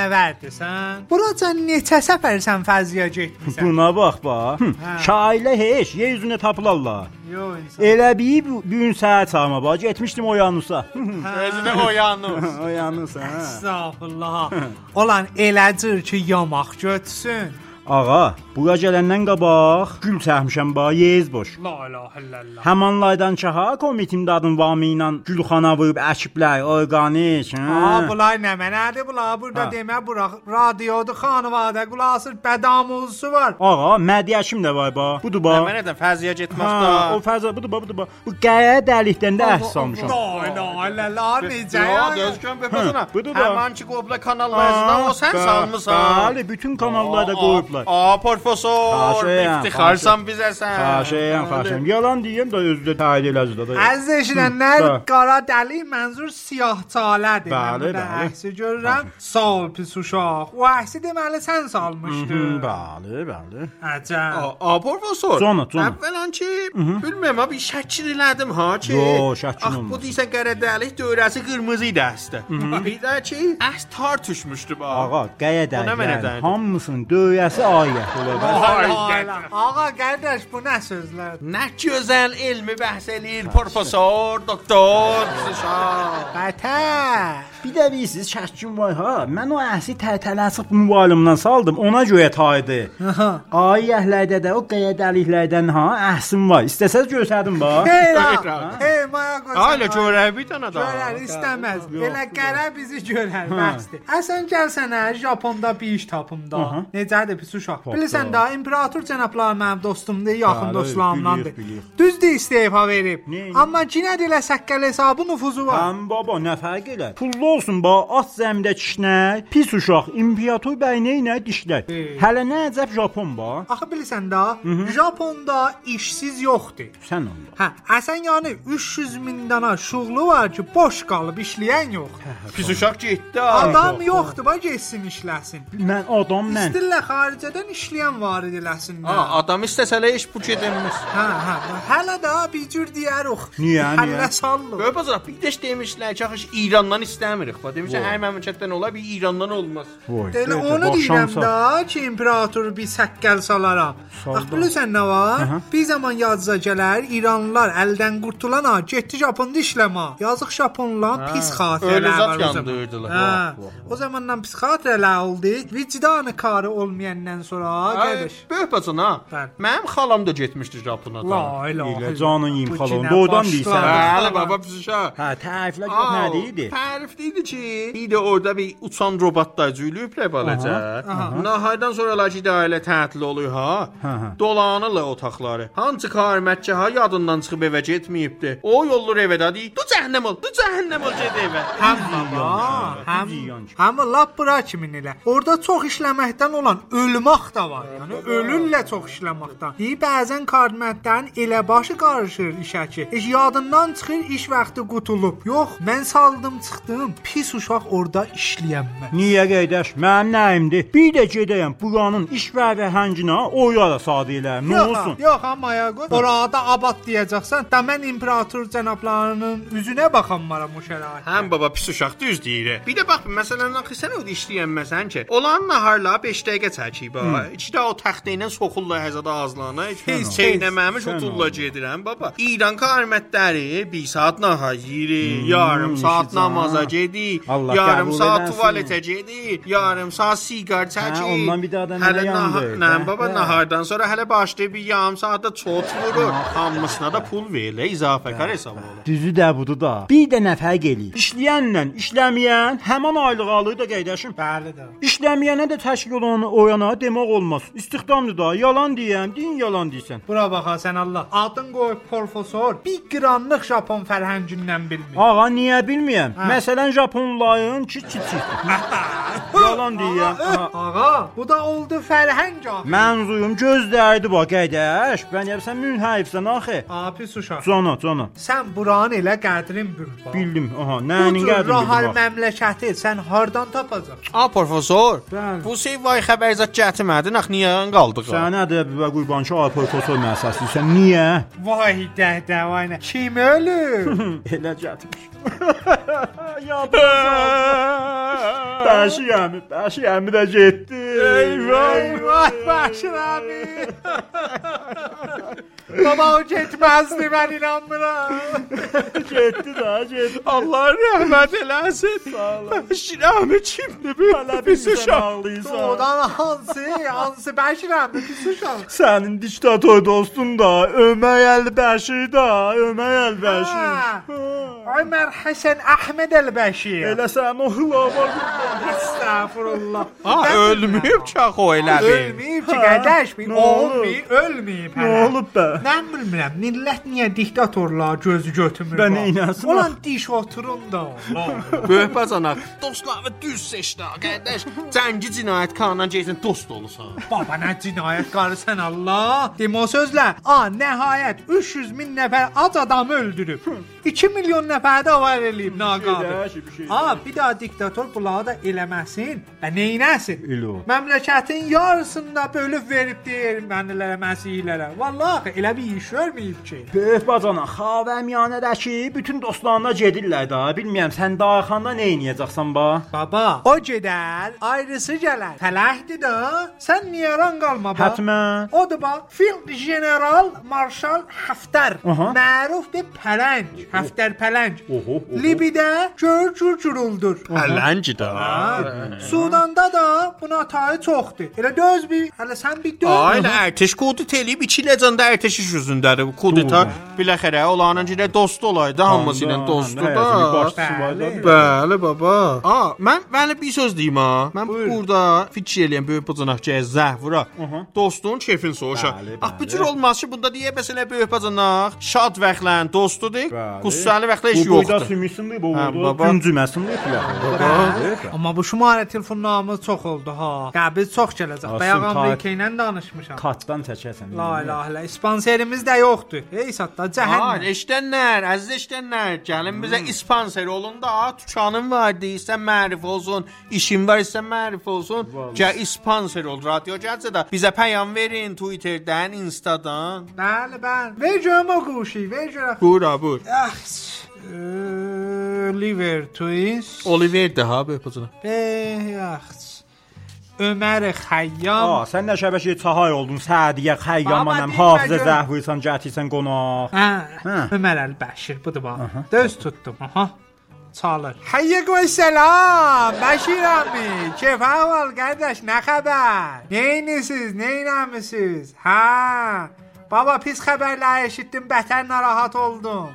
C: fəzanəvərdisən. Buraca neçə səfər sən fəziyə getmisən?
G: Buna bax bax. Hm,
C: Hə.
G: Şailə heç yer üzünə tapılarlar.
C: Yox insan.
G: Elə bir bu bu gün səhər çağırma bax. Getmişdim Oyanusa. Hə.
B: Özünə oyanır.
G: Oyanusa. hə.
C: Estağfurullah. Olan eləcir ki, yamaq götsün.
G: Ağa, bura gələndən qabaq gül çəkmişəm bax, yez boş.
C: La ilahe illallah.
G: Həman laydan çaha komitimdə adım vamı ilə gülxana vurub əkiblər, orqanik. hə.
C: Ha, bulay Ah, nə mənədir bula? Burada
G: Hə.
C: demə bura radiodur, xanvadə qulasır bədamulsu var.
G: Ağa, mədiyəşim də var bax. Budur bax.
B: Mənə də Hə, fəziyə getməkdə.
G: Ha, Hə, o fəza budur bax, budur bax. Bu qəyə dəlikdən də əhs salmışam.
C: La ilahe illallah necə?
B: Ya
C: ya?
B: gözgön be bacana.
G: Hə, budur da.
B: Həman ki qobla kanallarından o sən
G: Bəli,
B: salmısan.
G: Bəli, bütün kanallarda qoyublar.
B: Aa, professor,
G: Xahişəyəm,
B: iftixarsan bizəsən.
G: Xahişəyəm, xahişəyəm. Yalan deyim də özü də təyid eləzdi də.
C: از نشیننده
G: بله.
C: قارا دلی منظور سیاه تالده
G: بله،
C: من
G: بله.
C: عکسی görürəm sol pis uşaq o əksi deməli sən salmışdı
G: Hmm, Bəli, bəli.
C: əcəb
B: Aa, aa, professor.
G: Sonra, sonra.
B: Əvvələn ki, bilmirəm, şey abi şəkil elədim ha ki.
G: Yo, şəkil
B: Ax, bu
G: olmaz.
B: deyirsən qərədəlik dövrəsi qırmızı idi əslində. Bir də ki, əs tartışmışdı bax.
G: Ağa, qəyə
B: O nə mənə
G: dəyir.
B: dəydi?
G: Hamısının döyəsi ayət olar. bəs.
B: Ay,
C: ağa qardaş bu nə sözlərdir
B: Nə gözəl elmi bəhs eləyir professor, doktor, şah.
C: bətər
G: Bir də bilirsiniz, şəkkim var ha. Mən o əhsi tətələsib mobilimdən saldım, ona görə taydı. Ayəhlərdə də o qəyə dəliklərdən ha, əhsim var. İstəsəz göstərdim bax.
C: hey la
B: Buyurun.
C: hey maya qoca
B: Hələ görək bir dənə daha.
C: görər istəməz belə qara bizi
G: Hə.
C: görər bəsdir Hə, əsən gəlsənə Japonda bir iş tapım da necədir pis uşaq bilirsən da imperator cənablar mənim dostumdur yaxın
G: Bəli,
C: dostlarımdandır
G: bilirik, bilirik.
C: düzdür istefa verib
G: Niyə?
C: amma cinə dilə səkkəl hesabı nüfuzu var
G: Həm baba nə fərq elə? Pullu olsun ba, at zəmdə kişnək, pis uşaq, imperator bəy nə ilə dişlər. Hələ nə əcəb Japon ba?
C: Axı bilirsən da, Japonda işsiz yoxdur.
G: Sən onda.
C: Hə, əsən yəni 300 min dana şuğlu var ki, boş qalıb işləyən yox.
G: Hə,
B: Pis uşaq getdi.
C: Adam yoxdur, bax getsin işləsin.
G: Mən adam mən.
C: İstirlə xaricədən işləyən var
B: Ha,
C: ediləsinlər.
B: adam istəsələ iş bu gedilmiş.
C: Hə, hə. Hələ də bir cür deyərik.
G: Niyə,
C: Həllə
G: niyə?
C: sallıq.
B: Böyük bacana bir də demişlər ki, axı İrandan istəmirik. Bax demişlər hər məmləkətdən ola bir İrandan olmaz.
G: Voy.
C: Elə onu deyirəm də ki, imperatoru bir səkkəl salaram. Bax bilirsən nə var? Bir zaman yazıza gələr, İranlılar əldən qurtulan ha, getdi Japonda işləmə. Yazıq Japonlar pis xatirələr
B: Ölü
C: var
B: zat
C: o zaman.
B: yandırdılar.
C: Hə. O zamandan psixiatrələr oldu. Vicdanı karı olmayandan sonra
B: Ay,
C: qardaş.
B: Böyük bacana.
C: Bəli.
B: Mənim xalam da getmişdi Japonada.
C: La ilahe.
G: Elə canın yim xalan. Doğudan deyirsən.
B: Bəli, baba pis uşaq.
G: Hə, təriflə gör nə deyirdi?
B: Tərif deyirdi ki, bir də orada bir uçan robotlar cüylüyüblər balacə. Nahaydan sonra lakin də ailə tətil olur ha.
G: Aha.
B: Dolanırlar otaqları. Hansı karmətçaha yadından çıxıb evə getməyibdi. O yollar evə dedi. Du cəhənnəm ol, du cəhənnəm ol get evə.
C: Həm baba, həm həm lap bura kimi elə. Orda çox işləməkdən olan ölmək də var. Yəni ölürlə çox işləməkdən. Deyir bəzən karmətdən elə başı qarışır işə ki, iş yadından çıxır, iş vaxtı qutulub. Yox, mən saldım, çıxdım. Pis uşaq orada işləyəm mən.
G: Niyə qardaş? Mənim nəyimdir? Bir də gedəyəm buranın iş və vəhənginə oyara sadə elə. Nə
C: Yox,
G: olsun? Hə.
C: yox amma ya qoy. Orada abad deyəcəksən, da mən imperator cənablarının üzünə baxanmaram o şəraitdə.
G: Hə.
B: Həm Hə, baba pis uşaq düz deyir. Bir də bax məsələn axı sən orada işləyən məsələn ki, olan naharla 5 dəqiqə çəkib. ha. İçdə o taxta ilə soxullar həzədə ağzlarına. Heç
C: ol.
B: çeynəməmiş
G: Sən
B: oturla gedirəm baba. İran karmətləri 1 saat nahar yeyir, yarım saat
G: eşidirəm.
B: namaza gedir,
G: Allah
B: yarım
G: qəbul
B: saat
G: eləsin.
B: tualetə gedir, yarım saat siqar çəkir.
G: ondan bir də adam
B: Hələ
G: elə
B: nahar-
G: yandı.
B: Nə baba
G: Hə.
B: nahardan sonra hələ başlayıb
G: Hə,
B: bir yarım saatda çot vurur. Hamısına da pul verilə, izafə kar hesabı olur.
G: Düzü də budur da. da bir də nə fərq eləyir? İşləyənlə işləməyən həmin aylığı alır da qardaşım.
C: Bəli də.
G: İşləməyənə də təşkil olanı oyana demək olmaz. İstihdamdır da, yalan deyəm, din yalan deyirsən.
C: Bura bax ha sən Allah. Adın qoy professor. Bir qranlıq Japon fərhəngindən bilmir.
G: Ağa niyə bilmirəm? Məsələn Japonların ki kiçikdir. yalan deyirəm. Aha.
C: Ağa, bu da oldu fərhəng ağa.
G: Mənzuyum gözlərdi bax qardaş. Mən yəsən münhərifsən axı.
C: Abi suşa.
G: Cana, cana.
C: Sən buranı elə qədrin bil. bax.
G: Bildim. Aha,
C: Bu
G: nəyin
C: cür
G: qədim
C: rahar
G: bildim. bax.
C: məmləkəti sən hardan tapasan?
B: A professor,
C: Bəli.
B: bu şey vay xəbərzat gətirmədin, axı hə, niyə yan qaldıq? ha?
G: Sənə də bir qurbançı ay professor məsəsisən. Niyə?
C: Vay dəh dəvanə. Kim ölür?
G: Elə gətirmiş. Bəşi əmi, Bəşi əmi də getdi.
C: Eyvah Bəşir abi. Baba o getməzdi mən inanmıram.
G: getdi də, getdi.
B: Allah rəhmət eləsin. Şirami kimdir bu?
G: Hələ bizi ağlayırsan.
C: Odan hansı? Hansı Bəşir abi? Bir suşa.
G: Sənin diktator dostun da, Ömər Əlbəşir də, Ömər Əlbəşir.
C: Ha. Ömer Həsən Əhməd Əlbəşir.
G: Elə sənin o hılava
C: Estağfurullah.
B: Ha, ölmüyüb ki axı o elədi.
C: Ölməyib ki, qardaş, bir
G: Nə
C: oğul
G: olub?
C: bir ölməyib.
G: Nə
C: hələ.
G: olub bə?
C: Mən bilmirəm, millət niyə diktatorlar gözü götürmür?
G: Ben
C: bax.
G: iynəsinə-
C: Ulan diş oturun da. ulan.
B: Böyük ana, dostlarını düz seçdi ha, qardaş. Cəngi cinayət kanundan gəlsən dost olursan.
C: Baba nə cinayətkarı sən Allah. Demə o sözlə, a nəhayət 300 min nəfər ac adamı öldürüb. 2 milyon nəfər də var eləyib naqabil.
G: bir şey.
C: A, bir daha diktator bulağı da eləməsin və neynəsin?
G: Elo.
C: Məmləkətin yarısını da bölüb verib deyir mənələrə, məsihlərə. Vallahi elə bir iş görməyib ki.
G: Böyük bacana, xavəmyanədəki bütün dostlarına gedirlər da. Bilmirəm sən dayxanda nə edəcəksən ba?
C: Baba, o gedər, ayrısı gələr. Fələhdir də. Sən niyaran qalma baba.
G: Hətmən.
C: O da bax, Field General Marshal Haftar.
G: Aha.
C: Məruf bir pələng. Haftar pələng.
G: Oho, oho.
C: Libidə görgür gürüldür.
B: Oh. Ələnci də.
C: Sudanda da buna tayı çoxdur. Elə döz bir, hələ sən bir döz.
B: Ailə ərteş kudit eləyib iki legend ərteşiş üzündədir. Kudita biləxərə olanın ilə dost olaydı, hamısı ilə dostdur da. Bəli baba. A, mən mənə bir söz deyim ha. Mən Buyur. burada fikir eləyəm böyük bacanaq gəz zəhvura. Dostun kefin soğuşa.
G: Bəli,
B: Ax bu
G: bəli.
B: cür olmaz ki, bunda deyə məsələ böyük bacanaq şad vəxtlə dostudur,
G: Bəli.
B: qüssəli vəxtlə iş
G: Bu boyda
B: yoxdur.
G: sümüksündür bu
B: Ha,
G: boyda.
B: baba.
G: Güncüməsindir filan.
C: Amma bu şumarə telefonlarımız çox oldu ha. Qəbir çox gələcək.
G: Asım,
C: Bayaq Amerika
G: tay-
C: ilə danışmışam.
G: Katdan çəkəsən.
C: La ilahe illallah. Sponsorimiz də yoxdur. Ey satda
B: Ha,
C: cəhənnəm.
B: Hə, eşdənlər, əziz eşdənlər, gəlin bizə
G: Hmm.
B: sponsor olun da, a, dükanın var deyirsən mərif olsun, işin var isə mərif olsun. Gəl sponsor ol, radio gəlsə də bizə pəyam verin Twitterdən, Instadan.
C: Bəli, bəli. Ver görüm o quşu, ver görüm.
B: Bura bur.
C: Ah, s- eee, Liver twist.
B: Oliver də ha böyük bacana.
C: Eh, ah. s- Ömər Xəyyam.
G: Aa, sən nə şəbəkəyə çahay oldun, sədiyə, xəyyamanam,
C: Baba,
G: hafizə
C: deyirəm.
G: zəhvirsən, gətirsən qonaq.
C: Hə.
G: Hə.
C: Ömər Əl-Bəşir budur bax. Döz tutdum. Aha. Çalır. Hayyeku selam. Bəşir abi. Kef ahval qardaş? Nə xəbər? Neynisiz? Neynəmisiz? Hə. Baba pis xəbərlər eşitdim, bətər narahat oldum.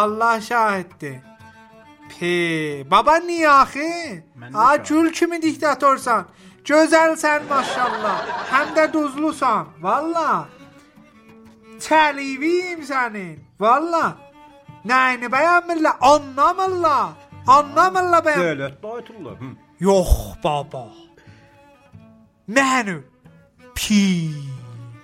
C: Allah şahiddir. Pi. Baba niyə axı?
G: Mən
C: A
G: də
C: gül kimi diktatorsan. Gözəlsən maşallah. Həm də duzlusan. Valla. Təliviyim sənin. Valla. Nəyini bəyənmirlə? Anlamırla. Anlamırla bəyən.
G: Dövlət dayıtırlar.
C: Yox baba. Nəni? Pi.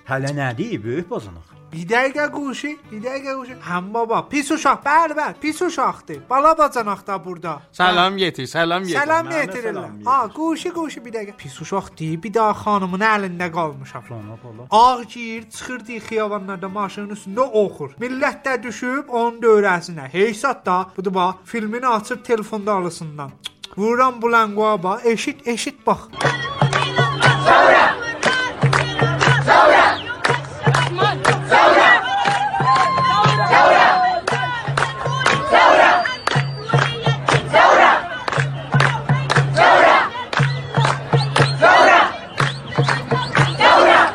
G: Hələ nə deyib böyük bozanaq?
C: Bir dəqiqə quşi, bir dəqiqə quşi. Həm baba, pis uşaq, bəli bəli, pis uşaqdır. Bala bacanaq da burada.
B: Salam yetir, salam yetir.
C: Salam
G: Mənə
C: yetirirlər.
G: salam
C: Ha, quşu quşu bir dəqiqə. Pis uşaq deyib bir daha xanımın əlində qalmışam.
G: Ana bala.
C: Ağ giyir, çıxır deyir xiyabanlarda maşının üstündə oxur. Millət də düşüb onun dövrəsinə. Heysat da budur bax, filmini açıb telefonda alısından. Cık, Vururam bulan qoba, eşit eşit bax.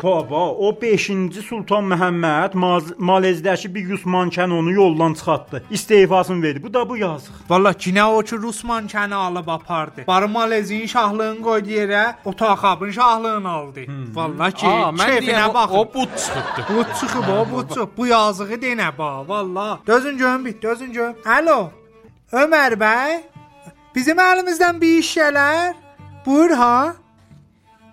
G: Baba, o o 5-ci Sultan Məhəmməd Maz- Malezdəki bir yus mankənonu yoldan çıxartdı. İstefasını verdi. Bu da bu yazıq.
C: Valla yine o ki Rus mankenini alıp apardı. Barı Malezin şahlığını koydu yere, o takabın şahlığını aldı. Valla ki
B: Hmm. Aa, mən deyirəm
C: keyfine bakın.
B: o but çıxıbdı.
C: Bu çıxıb o, bu çıxıb. Bu yazığı denə ba, valla. Dözün görüm bit, dözün görüm. Alo, Ömer bəy, bizim əlimizdən bir iş gələr. Buyur ha.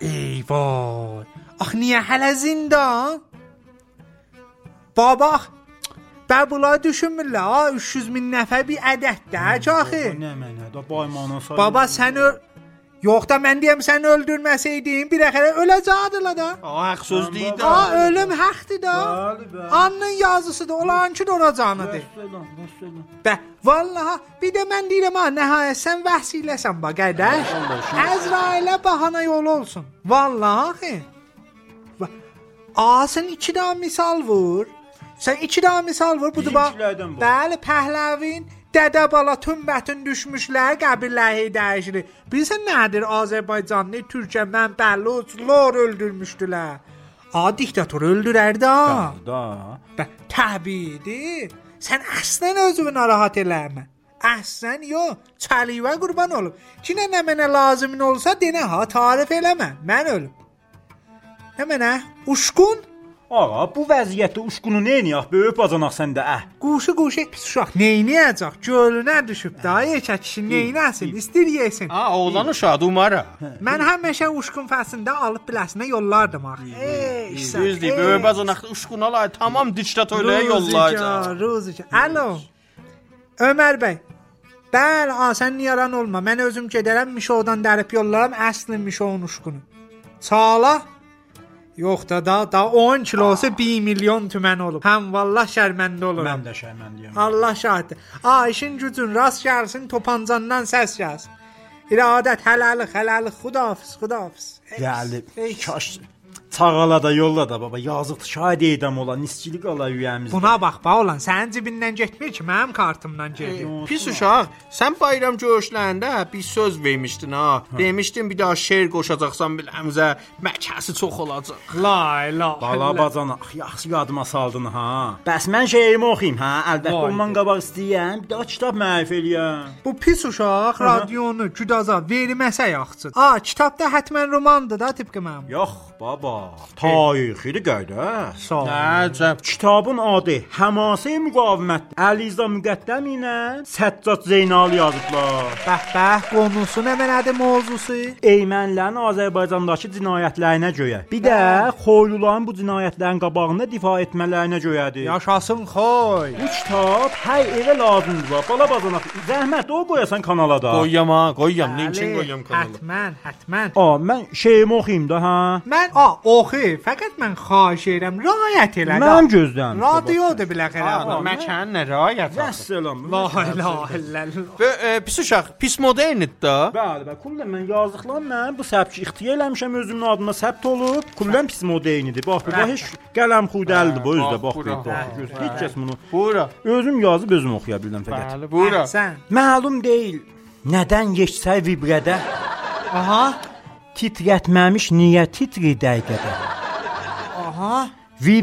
C: Eyvay. Ax niyə hələ zindan? Baba, bə bunlar düşünmürlər. Ha, 300 min nəfər bir ədəddir ki axı.
G: Bu Nə mənada? Baymanan sayı.
C: Baba sən ö Yox da mən deyəm sən öldürməsəydin bir əxirə öləcəkdin la da.
B: Aa, haq söz deyir də.
C: A ölüm haktı da.
G: Bəli, bəli.
C: Anın yazısı da olançı da olacağını de.
G: Söylən, nə söylən?
C: Be, vallaha bir de ben değilim ha nihayet sen vahsiylesen bak kardeş. Ezrail'e bahana yol olsun. Vallahi. Va- Aa sen iki daha misal vur. Sen iki daha misal vur. Bu da bak.
G: Bizimkilerden bu.
C: Bəli pəhləvin Dədə bala tümbətin düşmüşlər qəbirləri dəyişilir. Bilirsən nədir Azərbaycanlı, Türkə, mən Bəluc, lor öldürmüşdülər. A diktator öldürər də.
G: Da.
C: Bə, təbiidir. Sən əslən özünü narahat eləmə. Əslən yox, çəliyivə qurban olum. Kinə nə mənə lazım olsa denə ha, tarif eləmə. Mən ölüm. Nə mənə? Uşqun?
G: Ağa, bu vəziyyətdə uşqunu nə edəyək? Böyük bacanaq səndə əh.
C: Quşu quşu pis uşaq neyniyəcək? Gölünə düşüb də yekə kişi neynəsin? İstir yesin.
B: Aa, oğlan uşağı umara.
C: Mən həmişə uşqun fəslində alıb biləsinə yollardım axı. Ey, işsən,
B: Düzdür,
C: ey.
B: böyük bacanaq uşqunalay tamam diktatörlüyə yollayacaq.
C: Ruzica, Ruzica. Alo. Ömər bəy. Bəli, ha, sən yaran olma. Mən özüm gedərəm Mişovdan dərib yollaram əslin Mişovun uşqunu. Sağla. Yox da da, da 10 kilosu 1 milyon tümən olub. Həm vallah şərməndə oluram.
G: Mən də şərməndiyəm.
C: Allah şahiddir. A, işin gücün rast gəlsin, topancandan səs gəlsin. İradət, hələlik, hələlik, xudahafiz, xudahafiz.
G: Bəli.
C: Ey,
G: Kaş Çağala da yolla da baba yazıqdır. Şahid edəm ola, nisçilik ala yüyəmizdə.
C: Buna bax, ba olan, sənin cibindən getmir ki, mənim kartımdan gedir.
B: Pis uşaq, sən bayram görüşləndə bir söz vermişdin ha. Demişdin bir daha şeir qoşacaqsan biləmizə, məkəsi çox olacaq.
C: La la.
G: Bala bacan, ax, yaxşı yadıma saldın ha. Bəs mən şeirimi oxuyum ha. Əlbəttə
C: Vay
G: ondan qabaq istəyirəm, bir daha kitab mərif eləyəm.
C: Bu pis uşaq radionu güdaza verməsə yaxçı. A, kitabda hətmən romandır da tipki mənim.
G: Yox, baba. Tarixidir qardaş.
C: Sağ ol.
B: Hə. Əcəb.
G: Kitabın adı Həmasəyə müqavimət. Əliza Müqəddəm ilə Səccad Zeynal yazıblar.
C: Bəh bəh, qonusu nə mənadır mövzusu?
G: Ermənilərin Azərbaycandakı cinayətlərinə görə, bir də xoyluların bu cinayətlərin qabağında difa etmələrinə görədir.
C: Yaşasın xoy.
G: Bu kitab hər evə lazımdır. bax. Bala bacanaq, zəhmət o qoyasan kanala da.
B: Qoyam ha, qoyam, linkin
C: Bəli,
B: qoyam kanalı.
C: Hətmən, hətmən.
G: A, mən şeirimi oxuyum da hə? ha.
C: Mən a, oxu, fəqət mən xahiş edirəm, riayət elə. da.
G: Mənim gözləm.
C: Radiodur biləxərə.
B: Məkan nə rayət.
G: Vəssalam.
C: La ilahe illallah.
B: Və e, pis uşaq, pis modernit də.
G: Bəli, bəli. Kullən mən yazdıqlan mən bu səbki ixtiyar eləmişəm özümün adıma səbt olub. Kullən pis modeynidir. Bax, bu da heç qələm xudəldir bu özdə. Bax, bax, bax. Göz- Heç kəs bunu
B: Bura.
G: özüm yazıb özüm oxuya bildim fəqət.
B: Bəli, bura.
C: Sən.
G: Məlum deyil. Nədən keçsə vibrədə
C: Aha,
G: titrətməmiş niyə titri dəqiqədə.
C: aha.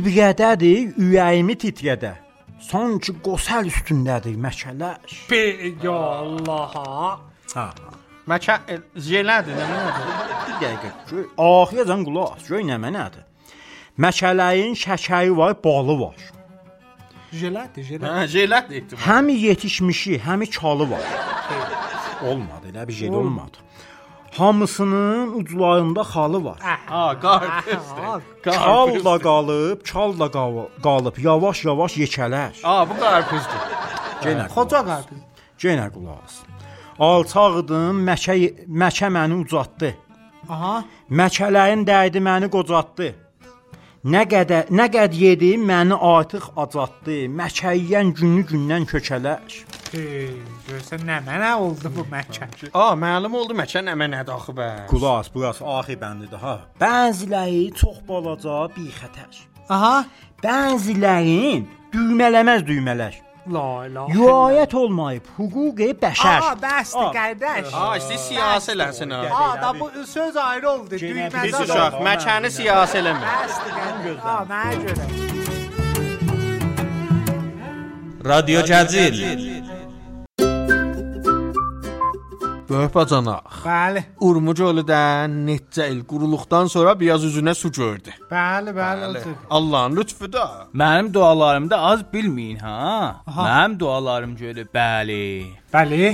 G: Vibrədədir, ürəyimi titrədə. Sanki qosəl üstündədir məkələş.
C: Be, ya Allah.
G: Ha.
B: Məkan e, jelədir, nə mənadır?
G: Bir dəqiqə. Gör, axıracan qulaq. as, Gör nə mənadır. Məkələyin şəkəri var, balı var.
C: Jelatı, jelatı.
B: Hə, jelət etdim.
G: Həmi yetişmişi, həmi kalı var. olmadı, elə bir şey də olmadı. Hamısının uclarında xalı var.
B: Ha, qarpız.
G: Kal da qalıb, kal da qal- qalıb, yavaş-yavaş yekələr.
B: A, bu qarpızdır.
G: Genə
C: Xoca qarpız.
G: Genə qulaq as. Alçaqdım, Məkə Məkə məni ucatdı.
C: Aha.
G: Məkələrin dəydi məni qocatdı. Nə qədər nə qəd yedim məni artıq acatdı. Məkəyən günü gündən kökələr.
C: Hey, görsən nə mənə oldu bu məkan.
B: A, məlum oldu məkan nə mənadır axı bə.
G: Qulaq, burası axir bəndidir ha. Bəziləri çox balaca, bir xətər.
C: Aha,
G: Bəzilərin düymələməz düymələr.
C: La la.
G: Yuayət olmayıb, hüquqi bəşər.
C: Aa bəsdir
G: Aa.
C: qardaş.
B: Ha, Ah, işte siyasi ləhsin ha.
C: Aa Ah, da bu söz ayrı oldu.
G: Cenab-ı
B: Pis
G: Hak.
C: Düymez
B: uşaq,
C: oldu. Ah,
B: məkanı siyasi eləmə.
C: Bəsdir qardaş. Aa mənə görə.
H: رادیو جزیل
B: Böhbacanaq.
C: Bəli,
B: Urmucu ölüdən neçə il quruluqdan sonra biraz üzünə su gördü.
C: bəli, bəli. olsun.
B: Allahın lütfü da.
I: Mənim dualarımda az bilməyin ha. Mənim dualarım görə bəli.
C: Bəli.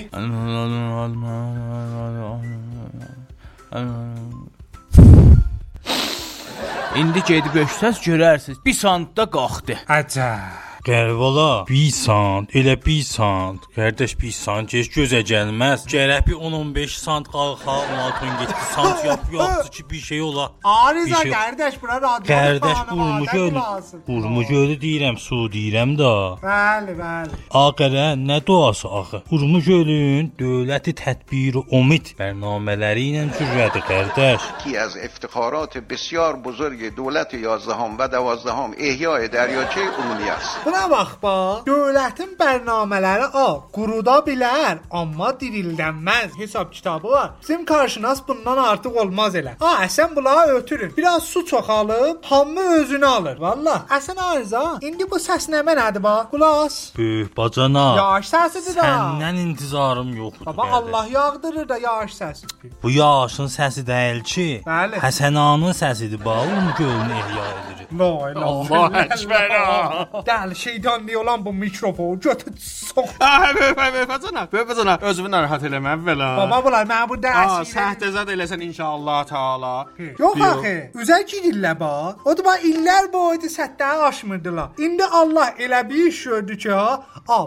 I: İndi gedib öksəz görərsiniz. Bir sandda qalxdı.
C: Əcəb.
J: Qərvala, pisant, elə pisant. Qardaş pisant, heç gözə gəlməz. Gərək bir 10-15 sant qalxa, 16 getdi sant yap, yoxdur ki bir şey ola.
C: Arıza
J: Bir şey-
C: qardaş bura radyo.
J: Qardaş
C: xanım,
J: urmuş
C: adam
J: ölü.
C: lazım.
J: Urmuş ölü deyirəm, su deyirəm da.
C: Bəli, bəli.
J: Ağərə nə duası axı? Urmuş ölün dövləti tədbiri umid bərnamələri ilə cürrədi qardaş.
K: یکی از افتخارات بسیار بزرگ دولت یازدهم و دوازدهم احیای دریاچه ارومیه است
C: Buna bax bax. Dövlətin bərnamələri A quruda bilər, amma dirildənməz. Hesab kitabı var. Bizim qarşınas bundan artıq olmaz elə. A əsən bulağı ötürün. Biraz su çoxalıb hamı özünü alır. Vallah. Əsən arıza. İndi bu səs nə mənadır bax? Qulaq as.
J: Böyük bacana,
C: Yağış səsidir da.
J: səndən intizarım yoxdur.
C: Baba
J: qardaş.
C: Allah yağdırır da yağış səsi.
J: Bu yağışın səsi deyil ki,
C: Bəli.
J: Həsənanın səsidir. Bağım gölünü ehya edir.
C: Vay Allah əkbər. Dəli şeytan deyə olan bu mikrofonu götür sox.
B: Ay, Böhbacanaq, Böhbacanaq, özünü narahat eləmə əvvəla.
C: Baba bunlar mənə bu
B: Aa,
C: dərs ilə-
B: səhtəzad eləsən inşallah taala.
C: Yox axı, üzər gidirlər bax. O da bax illər boyu səttəni aşmırdılar. İndi Allah elə bir iş gördü ki, ha, a,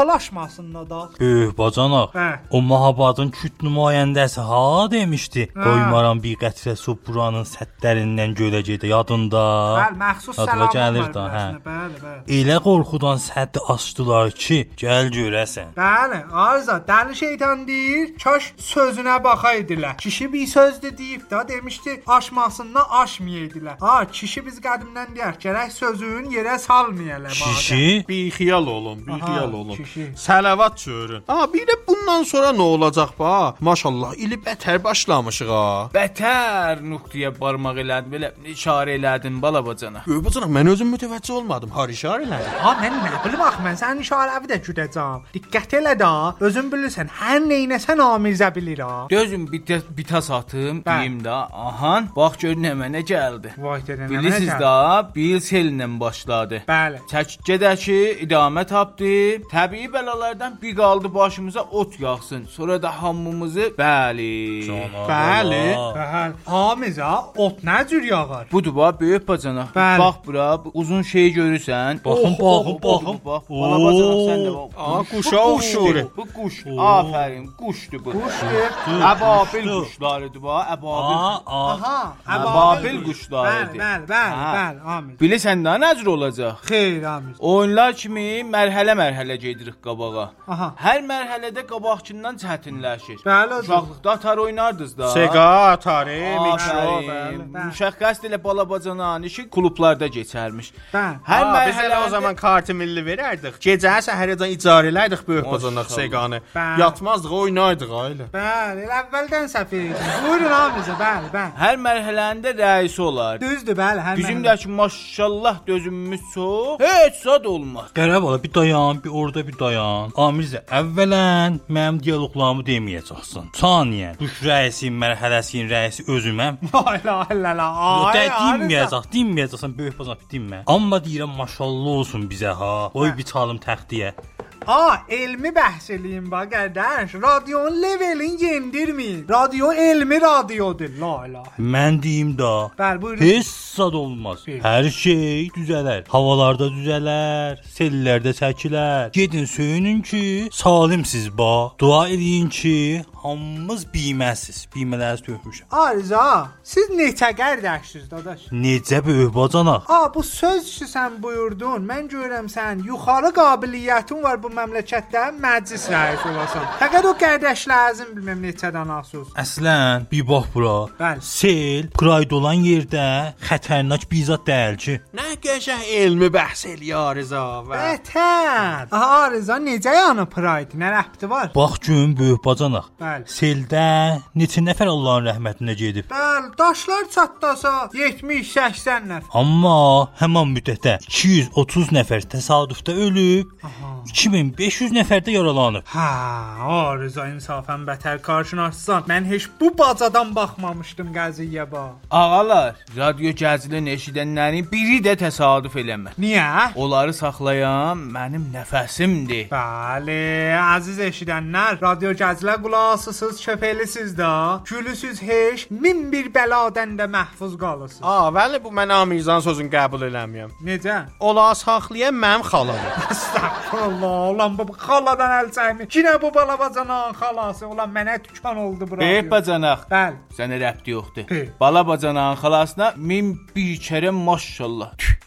C: başarsalaşmasın da da.
J: Böyük bacanaq.
C: Hə.
J: O Mahabadın küt nümayəndəsi ha demişdi.
C: Hə.
J: Qoymaram bir qətrə su buranın səttərindən gölə gedə yadında.
C: Bəli, məxsus
J: Yadıma
C: salam.
J: gəlir da, hə.
C: Bəli, bəli.
J: Elə qorxudan səddi açdılar ki, gəl görəsən.
C: Bəli, Arza, dəli şeytan deyir, kaş sözünə baxaydılar. Kişi bir söz de deyib da demişdi, aşmasından aşmayaydılar. Ha, kişi biz qədimdən deyər, gərək sözün yerə salmayalar. bazen.
J: Kişi
B: Bixiyal olun, bixiyal olun.
C: kişi.
B: Səlavat çöyrün. Amma bir də bundan sonra nə olacaq ba? Maşallah, ili bətər başlamışıq ha.
I: Bətər nöqtəyə barmaq elədin, belə işarə elədin balabacana.
B: Böhbacanaq, mən özüm mütəvəccə olmadım. Har işarə elədi.
C: Ha mən nə bilim axı mən sənin işarəvi də güdəcəm. Diqqət elə də, özün bilirsən, hər nəyinəsən amirə bilir ha.
I: Dözüm bitə bitə
C: Hə.
I: satım, deyim də, ahan, bax gör nə mənə gəldi.
C: Vay dedə nə
I: Bilirsiniz
C: mənə
I: də, Bilsellə başladı.
C: Bəli.
I: Çəkkədə ki, idamə tapdı. Təbii bəlalardan bir qaldı başımıza ot yağsın. Sonra da hamımızı bəli.
B: Bəli.
C: Bəhəl, amirə ot nə cür yağar?
I: Budur bax böyük bacanaq.
C: Bəli.
I: Bax bura, bu uzun şey görürsən.
J: Baxın, baxın, baxın.
I: Bax, bala bacanaq sən də bax.
B: Aa,
I: Bu
B: quşa
I: quşdur,
B: oxşur.
I: Bu quş. Afərin, quşdur bu. Quşdur. Əbabil quşlarıdır bax, əbabil.
J: a a
C: Ha,
I: Əbabil quşlarıdır.
C: Bəli, bəli, bəli,
I: Hə.
C: bəli, amir.
I: Bilirsən də necə olacaq?
C: Xeyr, amir.
I: Oyunlar kimi mərhələ-mərhələ gedirik qabağa.
C: Aha.
I: Hər mərhələdə qabaqçından çətinləşir.
C: Bəli, özür.
I: Uşaqlıqda atar oynardınız da.
B: Sega, Atari, Mikro.
I: Aferin.
C: bəli.
I: Uşaq qəsd ilə balabacanan işi klublarda keçərmiş.
C: Bəli.
I: Hər
B: Aa, biz elə
I: mərhələdə
B: o zaman kartı milli verərdik. Gecə səhərəcən icarə elədik
I: Maşallah.
B: Böhbacanaq Seganı.
C: Bəli.
B: Yatmazdıq, oynaydıq ailə.
C: Bəli, elə əvvəldən səhv etdin. Buyurun amirə, bəli, bəli.
I: hər mərhələndə rəisi olar.
C: Düzdür, bəli, hər
I: Bizim
C: mərhələ-
I: də ki maşallah dözümümüz çox, heç zad olmaz.
J: Qərəvala bir dayan, bir orada bir dayan. Amirzə, əvvələn mənim dialoqlarımı deməyəcəksən. Saniyən, quş rəisinin mərhələsinin rəisi özüməm.
C: Ay la la la. ay,
J: Ay, Də
C: Arıza.
J: dinməyəcək, dinməyəcəksən böyük bacan dinmə. Amma deyirəm maşallah olsun bizə ha.
C: Hə.
J: Qoy bir çalım təxtiyə.
C: A, elmi bəhs eləyin bax qardaş. Radionun levelini yendirməyin. Radio elmi radiodur. La ilahe.
J: Mən deyim də.
C: Bəli, buyurun.
J: Heç sad olmaz. Hər şey düzələr. Havalarda düzələr, sellərdə çəkilər. Gedin söyünün ki, salimsiz ba. Dua eləyin ki, hamımız biyməsiz. Biymələri tökmüşəm.
C: Arıza, siz neçə qardaşsınız dadaş?
J: Necə böyük bacanaq?
C: A, bu sözdür sən buyurdun. Mən görürəm sən yuxarı qabiliyyətin var bu məmləkətdə məclis rəisi olasan. Fəqət o qardaşlarınızın bilməm neçədən asılsız.
J: Əslən, bir bax bura.
C: Bəli.
J: Sel qurayd olan yerdə xətərnak bir zad deyil ki.
B: Nə qəşəng elmi bəhs eləyir Rıza və
C: Ətər. Aha, Arıza necə yana pride? Nə rəbti var?
J: Bax gün böyük bacanaq.
C: Bəli.
J: Seldə neçə nəfər Allahın rəhmətinə gedib?
C: Bəli, daşlar çatdasa 70-80 nəfər.
J: Amma həmin müddətdə 230 nəfər təsadüfdə ölüb, 2500 nəfər də yaralanıb.
C: Hə, Arıza insafən bətər qarşınaşsan. Mən heç bu bacadan baxmamışdım qəziyə bax.
I: Ağalar, radio gəzilin eşidənlərin biri də təsadüf eləmə.
C: Niyə?
I: Onları saxlayan mənim nəfəsimdir.
C: Bəli, əziz eşidənlər, radio gəzilə qulaq asısınız, köpəlisiniz də, gülüsüz heç min bir bəladan da məhfuz qalırsınız.
B: A, bəli bu mən Amirzan sözünü qəbul eləmirəm.
C: Necə?
B: Ola saxlayan mənim xalam.
C: Astagfirullah, ulan bu xaladan əl çəkmir. Yenə bu balabacanağın xalası, ulan mənə tükan oldu bura.
I: Bey Eh, bacanaq.
C: Bəli. Eh.
I: Sənə rəbti yoxdur.
C: Hey.
I: Bala bacanağın xalasına min bir kərə maşallah. Tüh.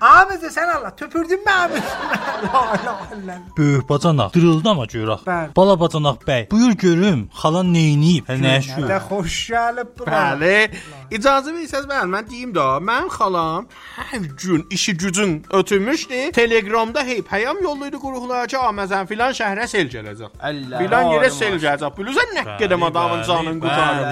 C: Ahmet sən Allah töpürdün mü Ahmet? Allah Allah Allah.
J: Böyük bacanaq dırıldama görək.
C: Bəli.
J: Bala bacanaq bəy, buyur görüm, xalan neyniyib? Hə nə şu?
C: Nə xoş gəlib bura.
B: Bəli. İcazə verirsəz bəli, mən deyim də, mənim xalam hər gün işi gücün ötürmüşdü. Telegramda hey peyam yollayırdı qruplara ki, Aməzən filan şəhərə sel gələcək.
I: Allah.
B: Filan yerə
I: arıma.
B: sel gələcək. Bilirsən nə qədəm adamın canını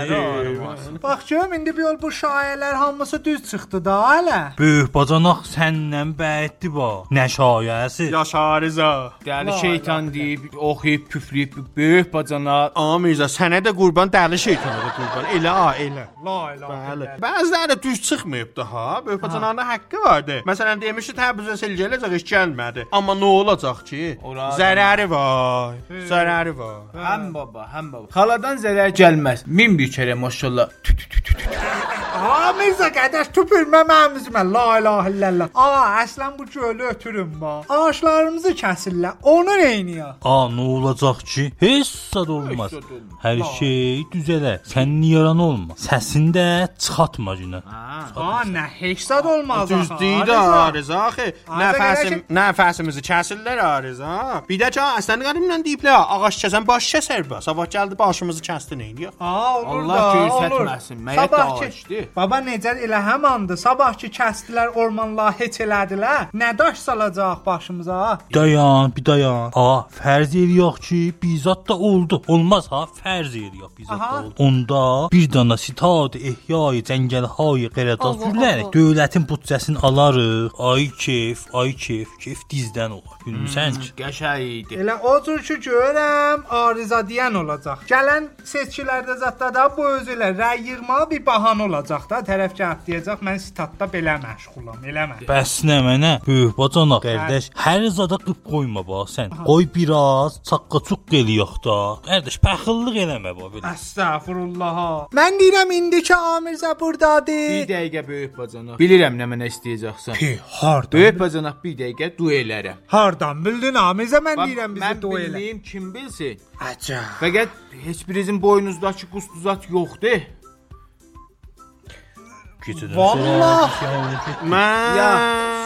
B: qurtarır.
C: Bax görüm indi bu yol bu şayələr hamısı düz çıxdı da hələ.
J: Böyük bacanaq səndən bəyətdi ba. Nə şayəsi?
B: Yaşa Rıza.
I: Dəli şeytan deyib, oxuyub, püflüyüb, böyük bacanaq.
B: Amirzə sənə də qurban dəli şeytana da qurban. Elə a, elə.
C: La ilahe
B: Bəli. Bəziləri düz çıxmayıb da ha. Böyük bacananın haqqı vardı. Məsələn demişdi Təbrizə sel gələcək, heç gəlmədi. Amma nə olacaq ki?
I: Ora-
B: Zərəri var. Zərəri var.
I: Həm baba, həm baba. Xaladan zərər gəlməz. Min bir kərə maşallah. Tüh, tüh, tüh, tüh, tüh.
C: Aa Mirzə qardaş tüpürmə mənim üzümə. La ilahe illallah. Aa əslən bu gölü ötürün ba. Ağaclarımızı kəsirlər. Onu neyniyə?
J: A, nə olacaq ki? Heç sad olmaz. Hər şey düzələr. Sən niyaran olma. Səsini də çıxartma günə.
C: Aa nə heçsad olmaz.
B: Düz
C: axı,
B: deyir
C: Arıza.
B: Arıza
I: Ah,
B: axı.
C: Arıza
B: Nəfəsim,
C: gələşib-
B: nəfəsimizi kəsirlər Arıza. Bir də ki, əslən qədimdən deyiblər, ağac kəsən baş kəsər bəs. Sabah gəldi başımızı kəsdi nə edir?
C: Aa olur
I: Allah
C: da.
I: göstərməsin,
C: olur.
I: məyət
C: Sabahki-
I: ağacdır.
C: Baba necə elə həmandı. Sabahki kəsdilər ormanla heç elədilər. Nə daş salacaq başımıza?
J: Bir dayan, bir dayan. A, fərz eləyək ki, bizat da oldu. Olmaz ha, fərz eləyək bizat da
C: Aha.
J: oldu. Onda bir dana sitad ehyay cəngəlhay qərədat güllərək dövlətin büdcəsini alarıq. Ay kef, ay kef, kef dizdən olur. Gülmüsən
I: Hmm,
J: ki?
I: Qəşəng idi.
C: Elə o cür ki görürəm, arıza deyən olacaq. Gələn seçkilərdə zətdə də bu özü ilə rəy yığmağa bir bahanə olacaq da, tərəf cəhət deyəcək, mən statda belə məşğulam, eləmə.
J: Bəs nə mənə? Böyük bacana, qardaş, hər zada qıb qoyma bax sən. Qoy biraz çaqqaçuq eləyək də. Qardaş, paxıllıq eləmə bax belə.
C: Əstəğfurullah. Mən deyirəm indiki Amirzə burdadır.
I: Bir dəqiqə böyük bacanaq. Bilirəm nə mənə istəyəcəksən.
C: Pi, hardan?
I: Böyük bacanaq bir dəqiqə duellərəm.
C: Hardan bildin Amirzə mən deyirəm bizi
I: mən
C: duel.
I: bildiyim kim bilsin.
C: Əcəb.
I: Fəqət heç birinizin boynunuzdakı qustuzat yoxdur.
J: Keçidən
C: Vallah.
B: Mən
I: Ya,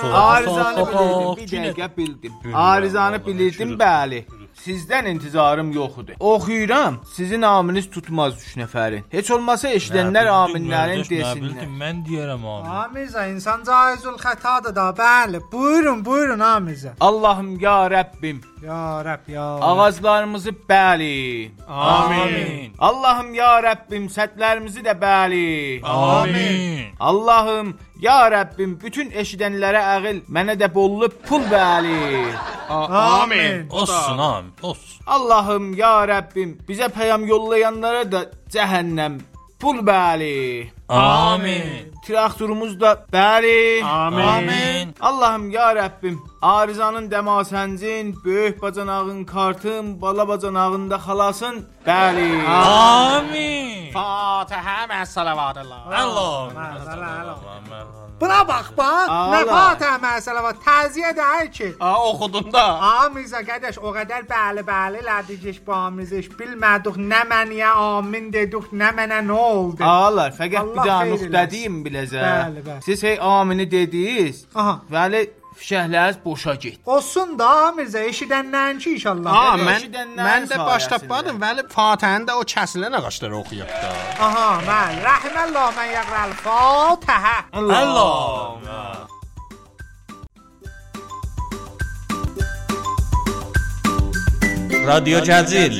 J: Hop,
I: arızanı
J: hop, hop.
I: bilirdim, bir dəqiqə bildim. Arızanı bilirdim, bəli. Sizdən intizarım yoxdur. Oxuyuram, sizin aminiz tutmaz 3 nəfərin. Heç olmasa eşidənlər aminlərin desinlər.
J: Bildim, mən deyərəm abi.
C: Amirzə insan caizül xətadır da, bəli. Buyurun, buyurun Amirzə.
I: Allahım ya Rəbbim,
C: Ya Rəbb ya.
I: ağaclarımızı bəli.
J: Amin.
I: Allahım ya Rəbbim, sətlərimizi də bəli.
J: Amin.
I: Allahım, ya Rəbbim, bütün eşidənlərə əqil, mənə də bollu pul bəli.
C: Amin.
J: Olsun amin, olsun.
I: Allahım, ya Rəbbim, bizə peyam yollayanlara da cəhənnəm pul bəli.
J: Amin.
I: Traktorumuz da bəli.
J: Amin.
I: Allahım, ya Rəbbim, Arizanın dəmasəncin, böyük bacanağın kartın, bala bacanağın da xalasın bəli.
J: Amin.
B: Fatihə məs salavatullah.
J: Allah.
C: Amin.
J: Amin.
C: Buna bax bax.
B: Ala.
C: Nə fatihə məsələ var. Təziyə deyil ki.
B: Aa oxudun da.
C: Amizə qədəş o qədər bəli bəli lədiciş bu amizəş bilmədik nə məniyə amin dedik nə mənə nə oldu.
L: Ağalar, fəqət bir
C: Allah
L: daha
C: xeyir
L: nöqtə
C: eləsin.
L: deyim biləcə.
C: Bəli, bəli.
L: Siz hey amini dediniz.
C: Aha.
L: Bəli, fişəkləriniz boşa getdi.
C: Olsun da Mirzə eşidəndən ki inşallah.
B: Aa, mən mən də baş tapmadım, bəli Fatihənin də o kəsilən ağacları oxuyubdu.
C: Aha, mən rəhməllah mən yəqrəl Fatihə.
M: رادیو جزیل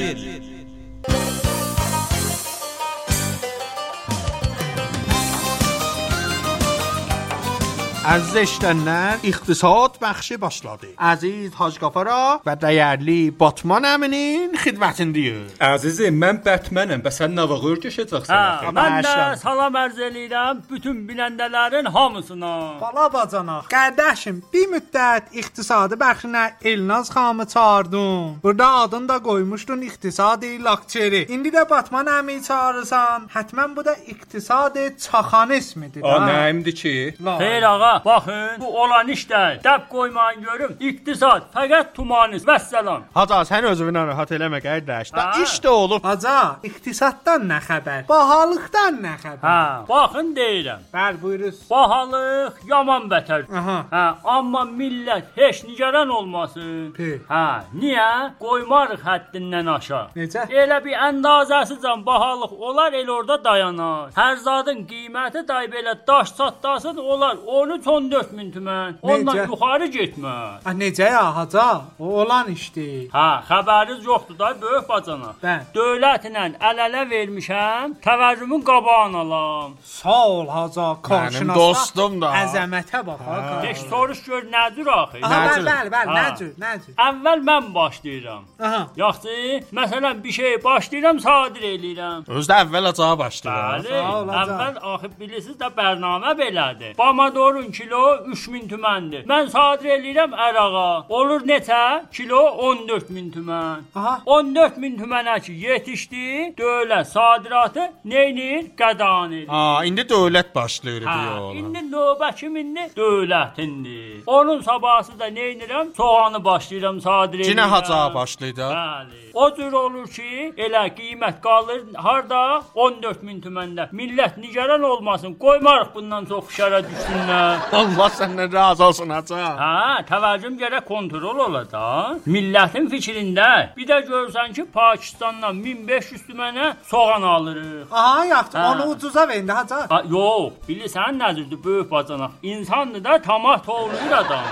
B: Əziz eşidənlər, iqtisad bəxşi başladı. Əziz Hacı Qafara və dəyərli Batman əminin xidmətindəyik.
K: Əzizim, mən Batmanəm, bəs sən nə vaxt örgəşəcəksən?
J: Hə,
K: axı?
J: mən də salam ərz eləyirəm bütün bilənlərin hamısına.
C: Bala bacanaq. Qardaşım, bir müddət iqtisadi bəxşinə Elnaz xanımı çağırdım. Burada adını da qoymuşdun iqtisadi lakçeri. İndi də Batman əmiyi çağırırsan, həttəmən bu da iqtisadi çaxan ismidir.
K: O
C: da.
K: nəyimdir ki?
J: Xeyr ağa, baxın, bu olan iş deyil. Dəb qoymayın görüm. İqtisad fəqət tumanis. Vəssalam.
B: Haca, sən özünü narahat eləmə qardaş. Da iş də olub.
C: Haca, iqtisaddan nə xəbər? Bahalıqdan nə xəbər?
J: Hə, baxın deyirəm.
C: Bəli, buyuruz.
J: Bahalıq yaman bətər.
C: Aha.
J: Hə, amma millət heç nigaran olmasın.
C: Pi.
J: Hə, niyə? Qoymarıq həddindən aşağı.
C: Necə?
J: Elə bir əndazəsizən bahalıq olar el orada dayanar. Hər zadın qiyməti day belə daş çatdasın olar 13-14 min tümən. Ondan
C: Necə?
J: yuxarı getməz.
C: A necə ya haca? O olan işdir.
J: Hə, xəbəriniz yoxdur da böyük bacana.
C: Bəli.
J: Dövlətlə əl-ələ vermişəm, təvəzzümün qabağını alam.
C: Sağ ol haca, qarşınasda.
J: dostum da.
C: Əzəmətə bax ha.
J: Keş soruş gör nədir axı?
C: Aha, bəli, bəli, bəli, nədir, nədir?
J: Əvvəl mən başlayıram.
C: Aha.
J: Yaxşı, məsələn bir şey başlayıram, sadir eləyirəm.
B: Özdə əvvəl acağa başlayır.
J: Bəli, əvvəl axı bilirsiniz də bərnamə belədir. Pomidorun kilo 3000 tüməndir. Mən sadir eləyirəm ərağa. Olur neçə? Kilo 14000 tümən.
C: Aha.
J: 14000 tümənə ki yetişdi, dövlət sadiratı nəyinir? Qədan edir.
B: Ha, indi dövlət başlayır
J: Hə,
B: deyir.
J: indi növbə kimindir? Dövlətindir. Onun sabahsı da nəyinirəm? Soğanı başlayıram sadir eləyirəm.
B: Cinə haca başlayır da.
J: Bəli. O cür olur ki, elə qiymət qalır harda 14 min tüməndə. Millət nigaran olmasın, qoymarıq bundan çox fişərə düşsünlər.
B: Allah səndən razı olsun haca.
J: Hə, təvəccüm gərək kontrol ola da. Millətin fikrində. Bir də görsən ki, Pakistandan 1500 tümənə soğan alırıq.
C: Aha, yaxşı.
J: Hə.
C: Onu ucuza verin də haca.
J: A, yox, bilirsən nədirdir böyük bacanaq. İnsandır da tamah toğruyur adam.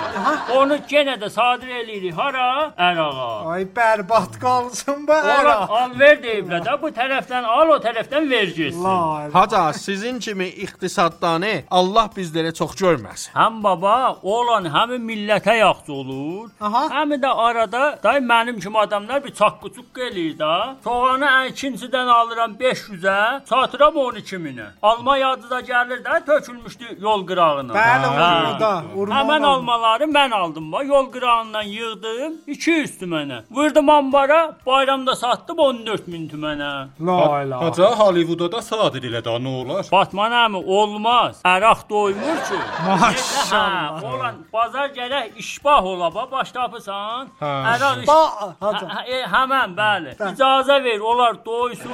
J: Onu yenə də sadir eləyirik hara? Ərağa.
C: Ay bərbad qalsın bu
J: Ora
C: əra.
J: al ver deyiblər də bu tərəfdən al o tərəfdən verəcəksən.
B: Haca, sizin kimi iqtisaddanı Allah bizlərə çox görməsin.
J: Həm baba, oğlan həm millətə yaxşı olur, Aha. həm də arada day mənim kimi adamlar bir çaqqıçuq eləyir də. Soğanı ikincidən alıram 500-ə, satıram 12000-ə. Alma yadı da gəlir də tökülmüşdü yol qırağına.
C: Bəli,
J: Hə.
C: orada, orman
J: Həmən
C: alma.
J: almaları mən aldım va, yol qırağından yığdım 200 tümənə. Vurdum ambara, bayramda satdım 14000 tümənə.
K: Ha- Haca Hollywoodda da sadir elə də nə olar?
J: Batman əmi olmaz. Əraq doymur ki.
K: Maşallah.
J: Hə, Olan bazar gərək işbah ola ba, baş tapısan.
K: Hə.
J: Əraq iş...
C: Ba- Hacı.
J: Hə, hə, həmən bəli. İcazə ver, onlar doysun.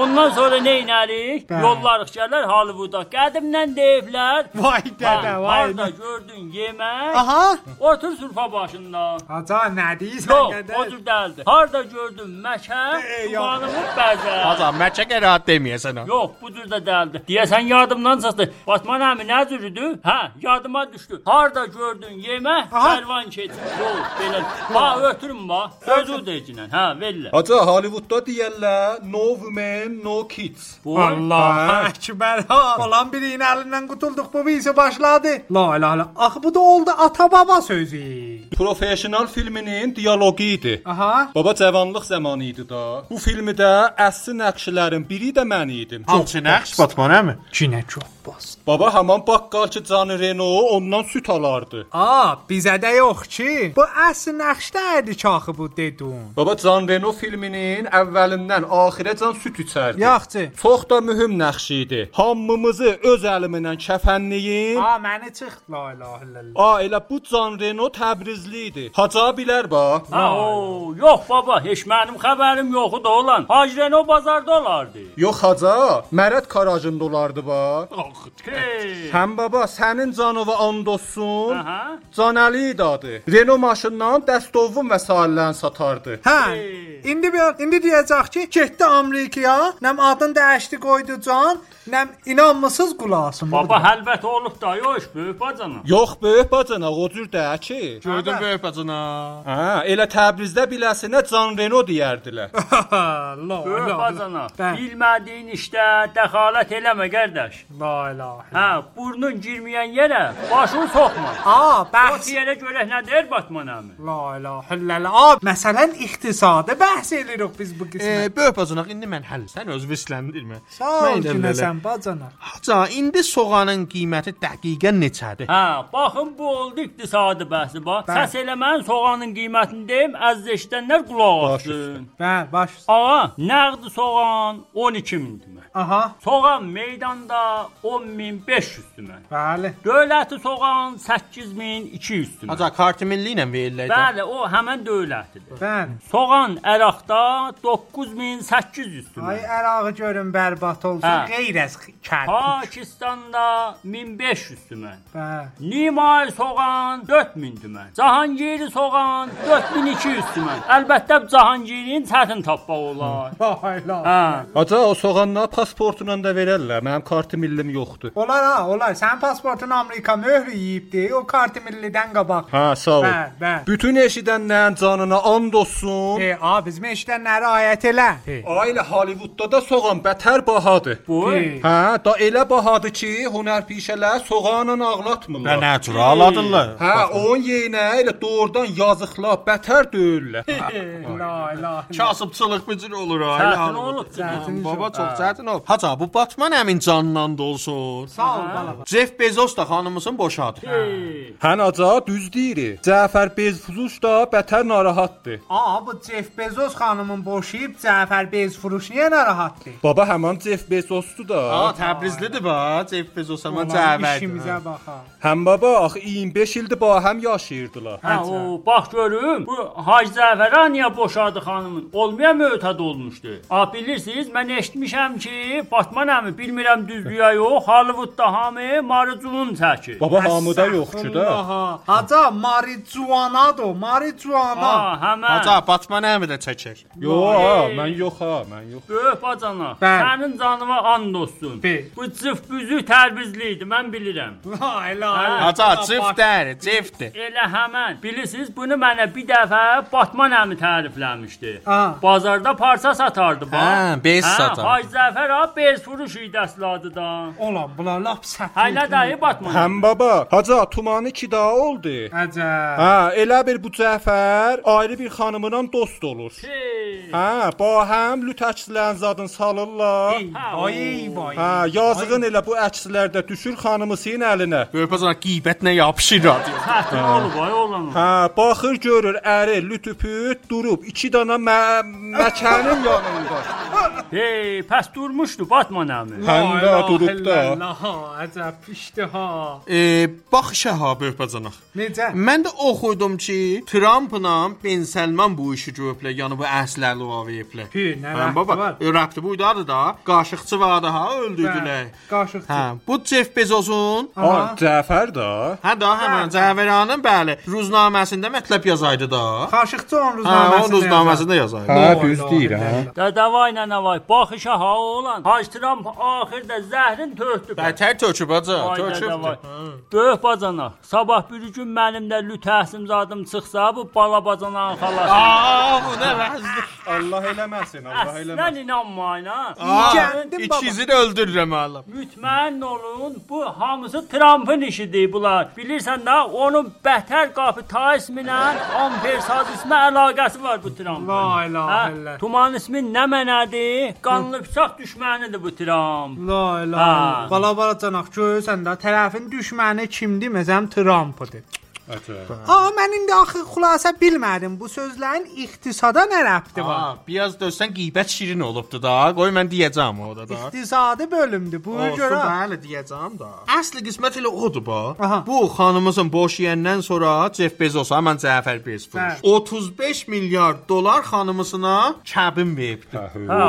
J: Ondan sonra nə inərik?
C: Bəli.
J: Yollarıq gələr Hollywooda. Qədimdən deyiblər.
C: Vay dədə,
J: Hə,
C: vay
J: Harda
C: dədə.
J: gördün yemək?
C: Aha.
J: Otur sürfa başında.
C: Haca nə deyirsən
J: Yox,
C: qədər?
J: o cür dəldi. Harda gördün məkən? Dumanımı bəzər.
B: Haca, məcə qərat deməyəsən. ha.
J: Yox, bu cür də dəldi. Deyəsən yadımdan çıxdı. Batman əmi nə cürüdü? Hə, yadıma düşdü. Harda gördün yemək? Kərvan keçir. Yox, belə. Ba, ötürün ba. Sözü deyiclə. Hə, verlə.
K: Haca Hollywoodda deyirlər no women, no kids.
C: Allah
J: Hə.
C: Ekber ha. Olan birinin elinden kurtulduk bu bir işe başladı. La ilahe illallah. Ah bu da oldu ata baba sözü.
J: Professional filminin dialoqu idi.
C: Aha.
J: Baba cavanlıq zamanı idi da. Bu filmdə əsl nəqşlərin biri də mən idim.
N: Hamçı nəqş
C: Batmanəmi? Ki nə çox bas.
J: Baba həmin baqqal ki Can Reno ondan süt alardı.
C: A, bizə də yox ki. Bu əsl nəqşdədir çaxı bu dedun.
J: Baba Can Reno filminin əvvəlindən axirəcən süt içərdi.
C: Yaxşı.
J: Çox da mühüm nəqş idi. Hamımızı öz əlimlə kəfənləyin.
C: A, məni çıx. La ilahe illallah.
J: A, elə bu Can Reno Təbrizli idi. Haca bilər ba.
O: Ha, o, yox baba, heç mənim xəbərim yoxdu olan. Hacreno bazarda olardı.
J: Yox haca, Mərət Karajında olardı ba. Həm baba sənin canova and olsun.
O: Aha.
J: Canəli idadı. Renault maşından dəstovun vəsaitlərini satardı.
C: Hə. İndi bir indi deyəcək ki, getdi Amerikaya, nəm adını dəyişdi qoydu Can, nəm inanmısız qulasın.
O: Baba hə, həlbət olub da, yox böyük bacana.
J: Yox böyük bacana, o cür də ki.
B: Gördün böyük bacana.
J: Hə, elə Təbrizdə biləsinə Can Renault deyərdilər.
O: Böyük bacana, bilmədiyin işdə dəxalət eləmə qardaş.
C: La ilahe.
O: Hə, burnun girməyən yerə başını soxma.
C: A,
O: bəs. O yerə görək nə deyir Batman əmi?
C: La ilahe illallah. A, Məsələn iqtisadi bəhs edirik biz bu qismət.
B: E, böyük bacanaq, indi mən həll. Sən özü visləndirmə.
C: Sağ ol ki, nəsən bacana.
B: Haca, indi soğanın qiyməti dəqiqən neçədir?
O: Hə, baxın bu oldu iqtisadi bəhsi bax.
B: Bəli.
O: Səs eləməyin soğanın qiymətini deyim, əziz eşidənlər qulaq asın.
C: Bəli, baş.
O: Ağa, nəğdi soğan 12 min demək.
C: Aha.
O: Soğan meydanda 10500 demək.
C: Bəli.
O: Dövləti soğan 8200 demək.
B: Haca, kartı milli ilə verirlər. də.
O: Bəli, o həmin dövlətdir.
C: Bəli.
O: Soğan Əraqda 9800 demək.
C: Ay ərağı görün bərbat olsun,
O: Hə.
C: qeyrəz kərd.
O: Pakistanda 1500 tümən.
C: Bəli.
O: Nimay soğan 4000 tümən. Cahangiri soğan 4200 tümən. Əlbəttə Cahangirin çətin tapmaq olar.
C: Vay la.
O: Hə.
J: Haca, o soğanla pasportla da verərlər. Mənim kartım millim yoxdur.
C: Olar ha, olar. Sən pasportun Amerika möhrü yeyibdi. O kartı millidən qabaq.
J: Hə, sağ ol.
C: Bəli, bəli.
J: Bütün eşidənlərin canına and olsun.
C: E, a, bizim eşidənlərə ayət elə.
J: Ailə Hollywoodda da soğan bətər bahadır.
O: Hey.
J: Hə, da elə bahadır ki, hünərpişələr soğanla ağlatmırlar.
G: Və nə cür ağladırlar?
J: Hə, onun yeyinə elə doğrudan yazıqlar, bətər döyürlər.
C: La la.
B: Kasıbçılıq bu cür olur ha.
J: Çətin
B: elə
J: olub,
B: olur.
J: çətin
B: Baba
J: olub.
B: çox
J: Hə.
B: çətin olub. Haca, bu Batman həmin canından da olsun.
C: Sağ ol bala.
B: Jeff Bezos da er xanımısın boşadı.
J: Hə, naca düz deyir. Cəfər Bezfuzuş da bətər narahatdır.
C: A, bu Jeff Bezos xanımın boşayıb Cəfər Bez furuş niyə narahatdır?
J: Baba həmin Jeff Bezosdur da.
B: Ha, Təbrizlidir bax, Jeff Bezos amma
C: Olan
B: cəvədir.
C: işimizə baxa.
J: Həm baba axı 25 ildir ba həm yaşayırdılar.
O: Hə, o, bax görüm, bu Hacı Zəfərə niyə boşadı xanımın? Olmaya möhtəd olmuşdu. A, bilirsiniz, mən eşitmişəm ki, Batman əmi bilmirəm düzdüyə yox, Hollywoodda hamı maricunun çəkir.
J: Baba hamıda yoxçu da.
C: Aha. Haca marijuanadır, marijuana.
O: Ha, həmən.
B: Haca, Batman həmi də çəkir.
J: Yox, ha, mən yox ha, mən yox.
O: Böyük bacana,
B: Bəli.
O: Öh, sənin canına and olsun. Bu cıf büzü tərbizli idi, mən bilirəm.
C: Vay la.
O: Hə.
B: Haca,
C: Ah.
B: çiftdir, çiftdir.
O: Elə həmən. Bilirsiniz, bunu mənə bir dəfə Batman əmi tərifləmişdi.
C: Ha.
O: Bazarda parça satardı bax.
B: Hə, bez
C: Ah,
B: satardı.
O: Hacı Zəfər ha, bez furuş idi əsladı da.
C: Olan bunlar lap səfil.
O: Hələ dayı Batman.
J: Həm baba, haca tumanı ki da oldu.
C: Əcəb.
J: Hə, elə bir bu Cəfər ayrı bir xanımla dost olur. Hə, ba həm lüt əkslərin zadını salırlar.
C: Ay vay.
J: Hə, yazığın elə bu əkslər də düşür xanımısının əlinə.
B: Böyük bacana qibətlə yapışır radio.
O: Hətin olub ay oğlanım.
J: Hə, baxır görür əri lütüpüt durub 2 dana mə məkənin yanında.
O: Hey, pəs durmuşdu Batman əmi.
J: Həndə durub da.
C: Ha, əcəb pişdi ha.
B: E, bax işə ha, böyük bacanaq.
C: Necə?
B: Mən də oxuydum ki, Trumpla Ben Salman bu işi görüblər, yəni bu əslərlə ovayblər.
C: Pi, nə
B: Hə,
C: rəbti
B: baba,
C: var?
B: e, rəbti bu idadı da, qaşıqçı vardı ha, öldürdülər.
C: Bəli, Qaşıqçı.
B: Hə, bu Jeff Bezos'un
J: Ha, Cəfər də.
B: Hə, da həmən Cəhvəranın bəli, ruznaməsində mətləb yazaydı da.
C: Qaşıqçı onun
B: Hə,
C: ruznaməsində.
B: onun ruznaməsində yazaydı.
J: hə.
O: Dədəvay nənəvay, bax işə ha oğlan. Hacı Trump axırda zəhrin tökdü.
B: Bətər töküb acı,
O: Vay dədəvay.
B: töküb.
O: Böyük bacana, sabah bir gün mənim də lütəhsim zadım çıxsa, bu bala bacananın xalası.
B: Aa, bu nə vəzdir?
J: A,
P: Allah eləməsin, Allah eləməsin.
O: Əslən inanmayın ha.
B: Aa, ikinizi de öldürürüm oğlum.
O: Mütməyin olun, bu hamısı Trumpın işidir bunlar. Bilirsən də onun bətər kapitalizmi ilə ampersaz ismi əlaqəsi var bu Trumpın.
C: La ilahe
O: Hə,
C: illallah.
O: Tuman ismi nə mənədir? Qanlı bıçaq düşmənidir bu Trump.
C: La
O: Ha.
C: ilahe. Bala bala canaq görürsən də tərəfin düşməni kimdir? Məsələn Trumpdır. Aa mən indi axı xülasə bilmədim. Bu sözlərin iqtisada nə rəbti var?
B: Aa, biraz dövsən qeybət şirin olubdu da. Qoy mən deyəcəm o da da.
C: İqtisadi bölümdür. Buna
B: Olsun,
C: görə
B: bəli deyəcəm da. Əsl qismət elə odur ba. Bu xanımızın boşayəndən sonra Jeff Bezos, aman Cəfər Bezos.
C: Hə.
B: 35 milyard dollar xanımısına kəbin veribdi.
O: Hə,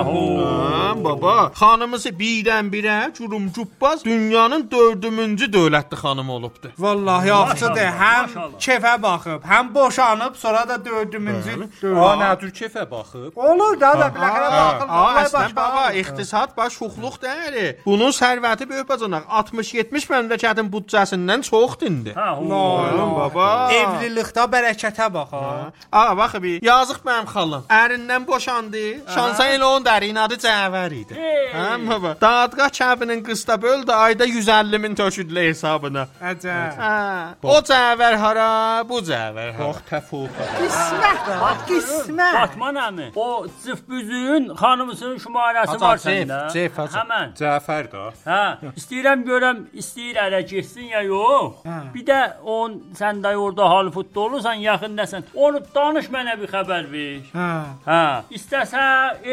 B: Ha, baba, xanımısı birdən birə cürumcubbaz dünyanın 4-cü dövlətli xanımı olubdu.
C: Vallahi avçıdır. Həm kefə baxıb, həm boşanıb, sonra da 4-cü.
P: Aa, nə tür kefə baxıb.
C: Olur da da biləxərə baxır.
B: Aa,
C: Olay
B: əslən
C: başqa
B: baba,
C: olmur.
B: iqtisad baş şuxluq deyil. Bunun sərvəti böyük bacanaq 60-70 məmləkətin büdcəsindən çoxdur indi.
O: Hə,
B: oğlum baba.
C: Evlilikdə bərəkətə bax ha.
B: Aa, bax bir, yazıq mənim xalım. Ərindən boşandı. Şansa elə onun dərinin adı Cəvər idi. Hə, baba. Dadqah kəbinin qısta böldü ayda 150 min töküdlə hesabına.
C: Əcəb.
B: Hə. O Cəvər hara, bu Cəvər hara. Bax
P: təfuqa.
C: Qismət, bax qismət.
O: Fatma nəmi, o cıfbüzün xanımısının şumarəsi
P: Hasan,
O: var səndə.
P: Ceyf, Ceyf, Hasan.
O: Həmən.
P: Cəfər də.
O: Hə, istəyirəm görəm, istəyir ələ getsin ya yox. Bir də on sən də orada Hollywoodda olursan, yaxındəsən. Onu danış mənə bir xəbər ver.
C: Hə.
O: Hə, istəsə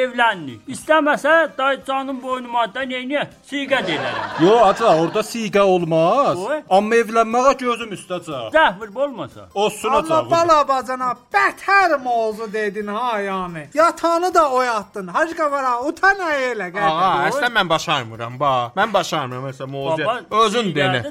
O: evləndik. İstəməsə day canım boynuma da neynə? Siqə deyirəm.
P: Yo, aca, orada siqə olmaz.
O: Oy.
P: Amma evlənməyə gözüm üstəcə.
O: Zəhvir olmasa.
P: Olsun aca.
C: Allah bala bacana bətər mövzu dedin ha yani. Yatanı da oyatdın. Hacı qavara utan ay elə qədir.
B: Ağa, əslən mən başarmıram bax. Mən başarmıram məsələn mövzu. Özün denə.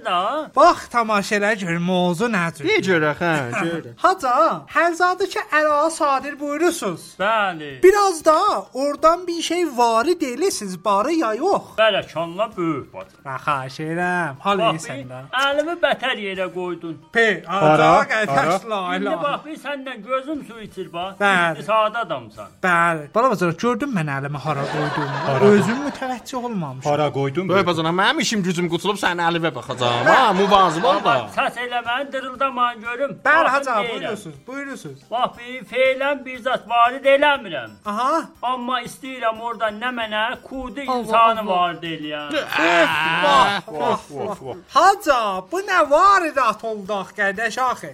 C: Bax tamaşa elə gör mövzu nədir.
B: Niyə görə hə? Görə.
C: Haca, herzadı ki əla sadir buyurursunuz.
O: Bəli.
C: Biraz da oradan bir şey varid eləsiz barı ya yox.
O: Bəli, kanla böyük bac.
C: Mən xahiş edirəm, hal eləsən də.
O: Əlimi bətər yerə qoydun.
C: P,
P: Ara,
C: ara, qardaş, la
O: İndi
C: la.
O: bax, bir səndən gözüm su içir bax.
C: Bəli.
O: İqtisadi adamsan.
C: Bəli. Bala bacana gördün mən əlimi hara
P: Hara?
C: qoydum. Özüm mütəvəccüh olmamışam.
P: Hara qoydun?
B: Böyük bacana, mənim işim gücüm qutulub sənin əlinə baxacağam. Ha, muvazib ol da.
O: Səs eləməni dırıldamayın görüm.
C: Bəli,
O: Baxın
C: haca,
O: deyirəm.
C: buyurursunuz, buyurursunuz.
O: Bax, bir feylən bir zat varid eləmirəm.
C: Aha.
O: Amma istəyirəm orada nə mənə kudi insanı varid eləyəm.
C: Vah, vah, vah. Haca, bu nə varidat oldaq qardaş axı?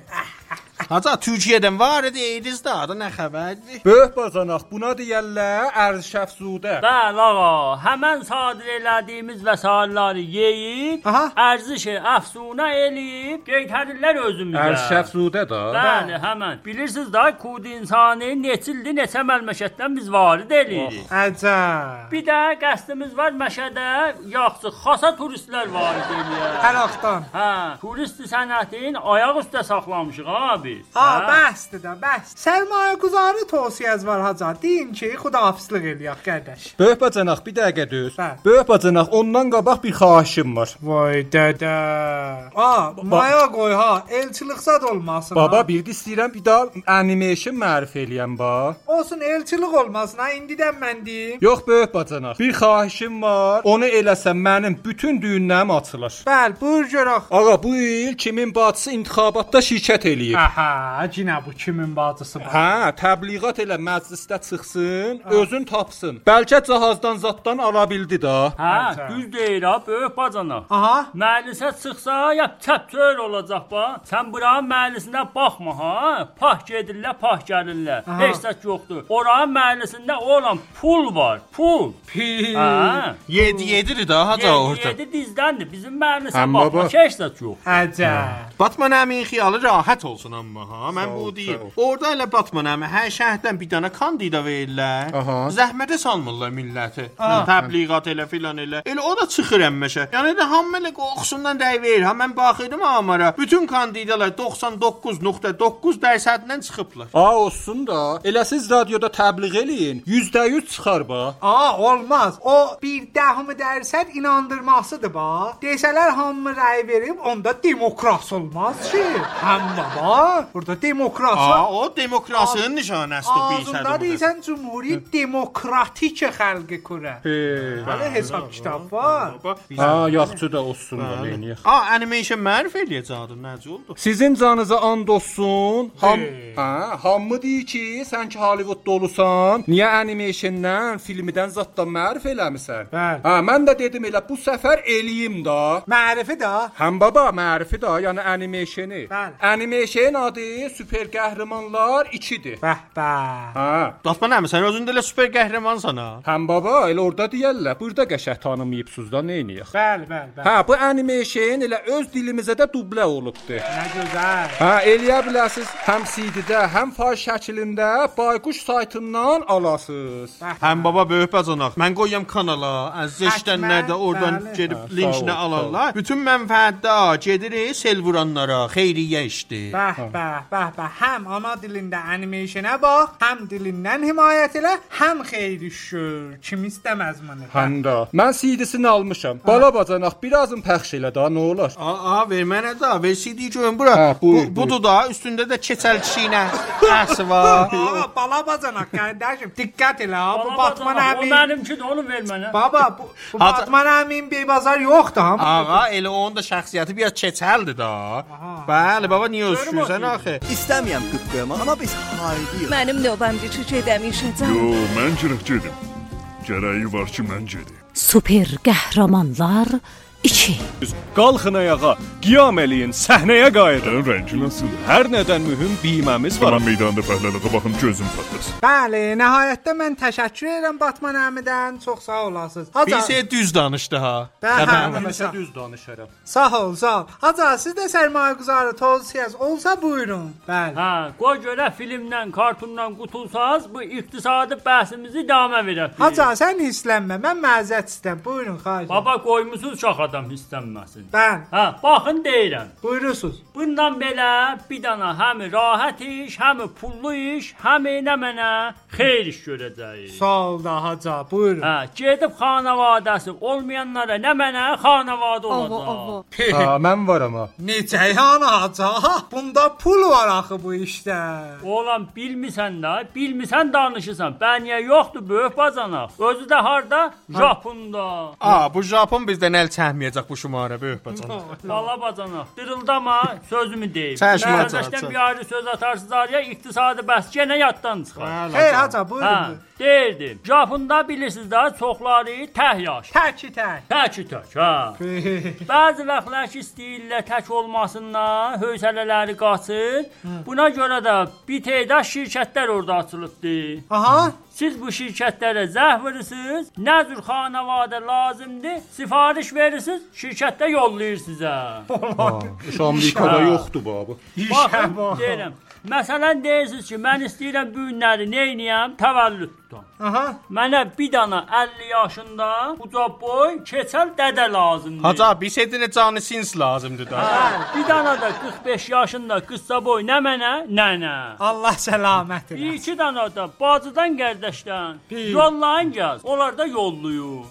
B: Haca Türkiyədən var idi, ediz də, adı nə xəbərdir?
P: Böyük bacanaq, buna deyirlər ərzşəfzudə.
O: Bəli ağa, həmən sadir elədiyimiz vəsaitləri yeyib, ərzişi əfsuna eləyib, qaytarırlar özümüzə.
P: Ərzşəfzudə də.
O: Bəli, həmən. Bilirsiniz də, kudi insanı neçildi, neçə məlumatdan biz varid eləyirik.
C: Əcəb.
O: Bir də qəsdimiz var Məşədə, yaxşı xasa turistlər varid eləyir.
C: Hər vaxtdan.
O: Hə, turist sənətin ayaq üstə saxlamışıq ha biz.
C: A,
O: Hə?
C: bəsdir də, bəs. Sərmayə quzarı tövsiyəz var haca. Deyin ki, xudahafizlik eləyək qardaş.
P: Böyük bacanaq, bir dəqiqə düz. Böyük bacanaq, ondan qabaq bir xahişim var.
C: Vay dədə. A, maya qoy ha, elçilik zad olmasın. ha.
P: Baba, bir də istəyirəm bir daha animation mərif eləyəm ba.
C: olsun elçilik olmasın ha, indidən mən deyim.
P: Yox, böyük bacanaq. Bir xahişim var. Onu eləsən mənim bütün düyünlərim açılır.
C: Bəli, buyur görək.
P: Ağa, bu il kimin bacısı intiqabatda şirkət eləyib?
C: Aha, cinə bu kimin bacısı bu?
P: Hə, təbliğat elə məclisdə çıxsın, özün tapsın. Bəlkə cahazdan zaddan ala bildi də.
O: Hə, düz deyir ha, böyük bacana.
C: Aha.
O: Məclisə çıxsa, ya çəpçör olacaq ba. Sən buranın məclisinə baxma ha. Pah gedirlər, pah gəlirlər.
C: Aha.
O: Heç səs yoxdur. Oranın məclisində olan pul var, pul.
C: Pi.
O: Hə.
B: 7-7-dir də haca orada.
O: 7 dizdəndir. Bizim məclisə
B: Amma
O: baxma,
B: bax-
O: heç səs yox.
C: Əcəb.
B: Batman əmin xiyalı rahat olsun amma ha. Mən bu deyim. Orda elə Batman əmi hər şəhərdən bir dənə kandida verirlər. Zəhmətə salmırlar milləti.
C: Aha.
B: Təbliğat elə filan elə. Elə o da çıxır əmməşə. Yəni də hamı elə qorxusundan dəy verir. Ha mən baxırdım amara. Bütün kandidalar 99.9%-dən çıxıblar.
P: A olsun da, elə siz radioda təbliğ eləyin. 100% çıxar ba.
C: A, olmaz. O bir dəhmi dərsən inandırmasıdır ba. Desələr hamı rəy verib, onda demokrat olmaz ki. Həm baba, Burada demokrasi.
B: Aa, o demokrasinin nişanəsi o
C: Ağzında deysən Cumhuriyet demokratik xalqı kurə. Hələ hesab kitab var.
P: Ha, yaxşı Hə, da olsun da neyniyək.
B: A, animation mərif eləyəcəkdim, necə oldu?
P: Sizin canınıza and olsun. Ham, ha, hamı deyir ki, sən ki Hollywoodda olusan, niyə animationdan, filmdən zətdan mərif eləmisən? Bəli. Ha, mən də dedim elə bu səfər eləyim da.
C: Mərifi də.
P: Həm baba, mərifi də, yəni animationi.
C: Bəli.
P: Animation adı süper qəhrəmanlar 2-dir.
C: Bəh, bəh.
P: Ha.
B: Dostman əmi, sən özün də elə süper qəhrəmansan ha.
P: Həm baba, elə orada deyirlər, burada qəşəh tanımayıbsınız da, neyniyək?
C: Bəli, bəli, bəli.
P: Hə, bu animation elə öz dilimizə də dublə olubdu.
C: Nə gözəl.
P: Hə, eləyə bilərsiz həm CD-də, həm fayl şəklində bayquş saytından alasız.
B: Həm baba böyük bacanaq. Mən qoyuram kanala, əziz eşidənlər də oradan
P: bəli.
B: gedib
P: Hə, sağ
B: linkini
P: ol, sağ ol.
B: alarlar. Bütün mənfəətdə gedirik sel vuranlara, xeyriyyə işdi.
C: Bəh, bəh, bəh, bəh. Həm ana dilində animationə bax, həm dilindən himayət elə, həm xeyri şür. Kim istəməz bunu?
P: Həndə. Mən CD-sini almışam. Bala bacanaq, birazın pəxş elə da, nə olar?
B: Aa, ver mənə də, ver CD görüm bura.
P: Hə, buyur,
B: Bu, budur da, üstündə də keçəl çiynə. Əsi var.
C: Aa, bala bacana qardaşım, diqqət elə ha, bu
O: Bala
C: Batman
O: bacanaq, o
C: əmi.
O: mənimkidir, onu ver mənə.
C: Baba, bu, bu
B: Hata-
C: Batman əmin beybazar yoxdur ha.
B: Ağa, elə onun da şəxsiyyəti biraz keçəldir da. Bəli, baba niyə özüşürsən axı?
Q: İstəmiyəm qıp qoymaq, amma biz haydiyik.
R: Mənim növbəmdir çüçə edəmişəcəm.
S: Yo, mən cırıqçıydım. Gərəyi var ki, mən gedim.
R: Super qəhrəmanlar 2.
T: Qalxın ayağa, qiyam eləyin, səhnəyə qayıdın. Rəngi nasıl? Hər nədən mühüm biməmiz var.
S: Mən meydanda fəhləliqə baxım ki, özüm patlasın.
C: Bəli, nəhayətdə mən təşəkkür edirəm Batman əmidən. Çox sağ olasınız. Hə,
B: Bir şey düz danışdı ha.
C: Bəli,
B: Xəbər
C: bəli.
B: var.
C: Həmişə
P: düz danışaram.
C: Sağ ol, sağ ol. Hacı, siz də sərmayə quzarı tozsiyaz olsa buyurun. Bəli.
O: Hə, qoy görə filmdən, kartundan qutulsaz, bu iqtisadi bəhsimizi davamə verək.
C: Hacı, sən hisslənmə. Mən məzət istəm. Buyurun, xahiş.
O: Baba qoymusunuz çox adam istənməsin.
C: Bəli.
O: Hə, baxın deyirəm.
C: Buyurursunuz.
O: Bundan belə bir dana həm rahat iş, həm pullu iş, həm nə mənə xeyir iş görəcəyik.
C: Sağ ol da Hacı, buyurun.
O: Hə, gedib xanavadəsi olmayanlara nə mənə xanavadə olacaq.
P: Ha, mən varam ha.
C: Necə yəni Hacı? Bunda pul var axı bu işdə.
O: Oğlan bilmirsən də, bilmirsən danışırsan. Bəniyə yoxdur böyük bacanaq. Özü də harda? Japunda.
B: A, bu Japon bizdən əl çəkməyəcək bu şumarə böyük bacanaq.
O: Bala bacanaq. Dırıldama, sözümü deyim.
B: Çəkmə, çək,
O: Mərhəmətdən
B: çək.
O: bir ayrı söz atarsız araya iqtisadi bəhs yenə yaddan çıxar.
C: Xeyr, Hacı, buyurun,
O: Hə,
C: buyurun.
O: Deyirdim. Japunda bilirsiniz də çoxları təh yaş.
C: Təki tək.
O: Təki tək, hə. Bəzi vaxtlar ki, istəyirlər tək olmasından hövsələləri qaçır. Buna görə də bir teyda şirkətlər orada açılıbdı.
C: Aha.
O: Siz bu şirkətlərə zəh verirsiniz, nə cür xanavadə lazımdır, sifariş verirsiniz, şirkətdə hə. yollayır sizə.
P: Şu Amerikada
O: Ha.
P: yoxdur babu.
O: Baxın, deyirəm. Məsələn deyirsiniz ki, mən istəyirəm bu günləri neyniyəm, təvəllüd tutam.
C: Aha.
O: Mənə bir dana 50 yaşında uca boy keçəl dədə lazımdır.
B: Hacı, bir şey dinə canı sins lazımdır da.
O: Hə, bir dana da 45 yaşında qısa boy nə mənə, nənə.
C: Allah səlamət
O: Bir iki dana da bacıdan qardaşdan. Yollayın gəz. Onlar da yolluyur.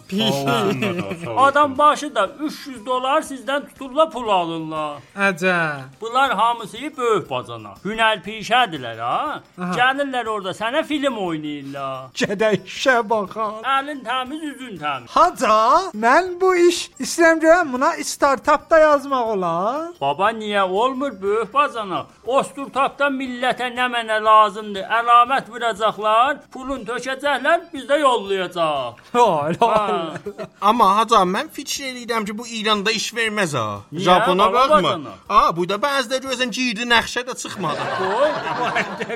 O: Adam başı da 300 dolar sizdən tuturla pul alırlar.
C: Hacı.
O: Bunlar hamısı böyük bacana. Hünər pişədirlər ha.
C: Aha.
O: Gəlirlər orada sənə film oynayırlar.
C: Gedək işə baxaq.
O: Əlin təmiz, üzün təmiz.
C: Haca, mən bu iş istəyirəm görəm buna startap da yazmaq olar.
O: Baba niyə olmur böyük bacana? Osturtapda millətə nə mənə lazımdır? Əlamət vuracaqlar, pulun tökəcəklər, biz də yollayacaq. Ha.
B: Amma Hacı, mən fikir eləyirəm ki, bu İranda iş verməz ha.
O: Niyə?
B: Japona
O: Bala
B: baxma.
O: bacanaq.
B: A, bu da bəzidə görsən girdi nəxşə də çıxmadı.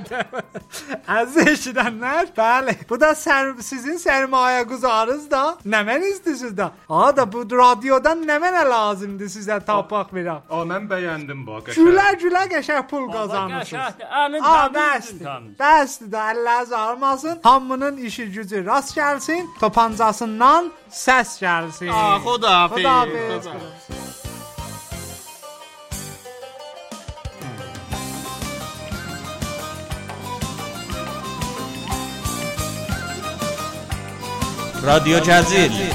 C: Əziz eşidənlər, bəli. Bu da sər, sizin sərmayə quzarınız da, nə mən istəyirsiniz də. A da bu radiodan nə mənə lazımdır sizə tapaq verəm.
P: A, mən bəyəndim bax.
C: Gülə-gülə qəşəng pul qazanırsınız.
O: Qəşəngdir, əlin
C: A,
O: təmiz, üzün
C: bəsdir.
O: təmiz.
C: Bəsdir də əlləriniz ağrımasın. Hamının işi gücü rast gəlsin. Topancasından səs gəlsin.
B: A, xudahafiz.
C: Xudahafiz.
B: Xudahafiz.
H: رادیو جزیل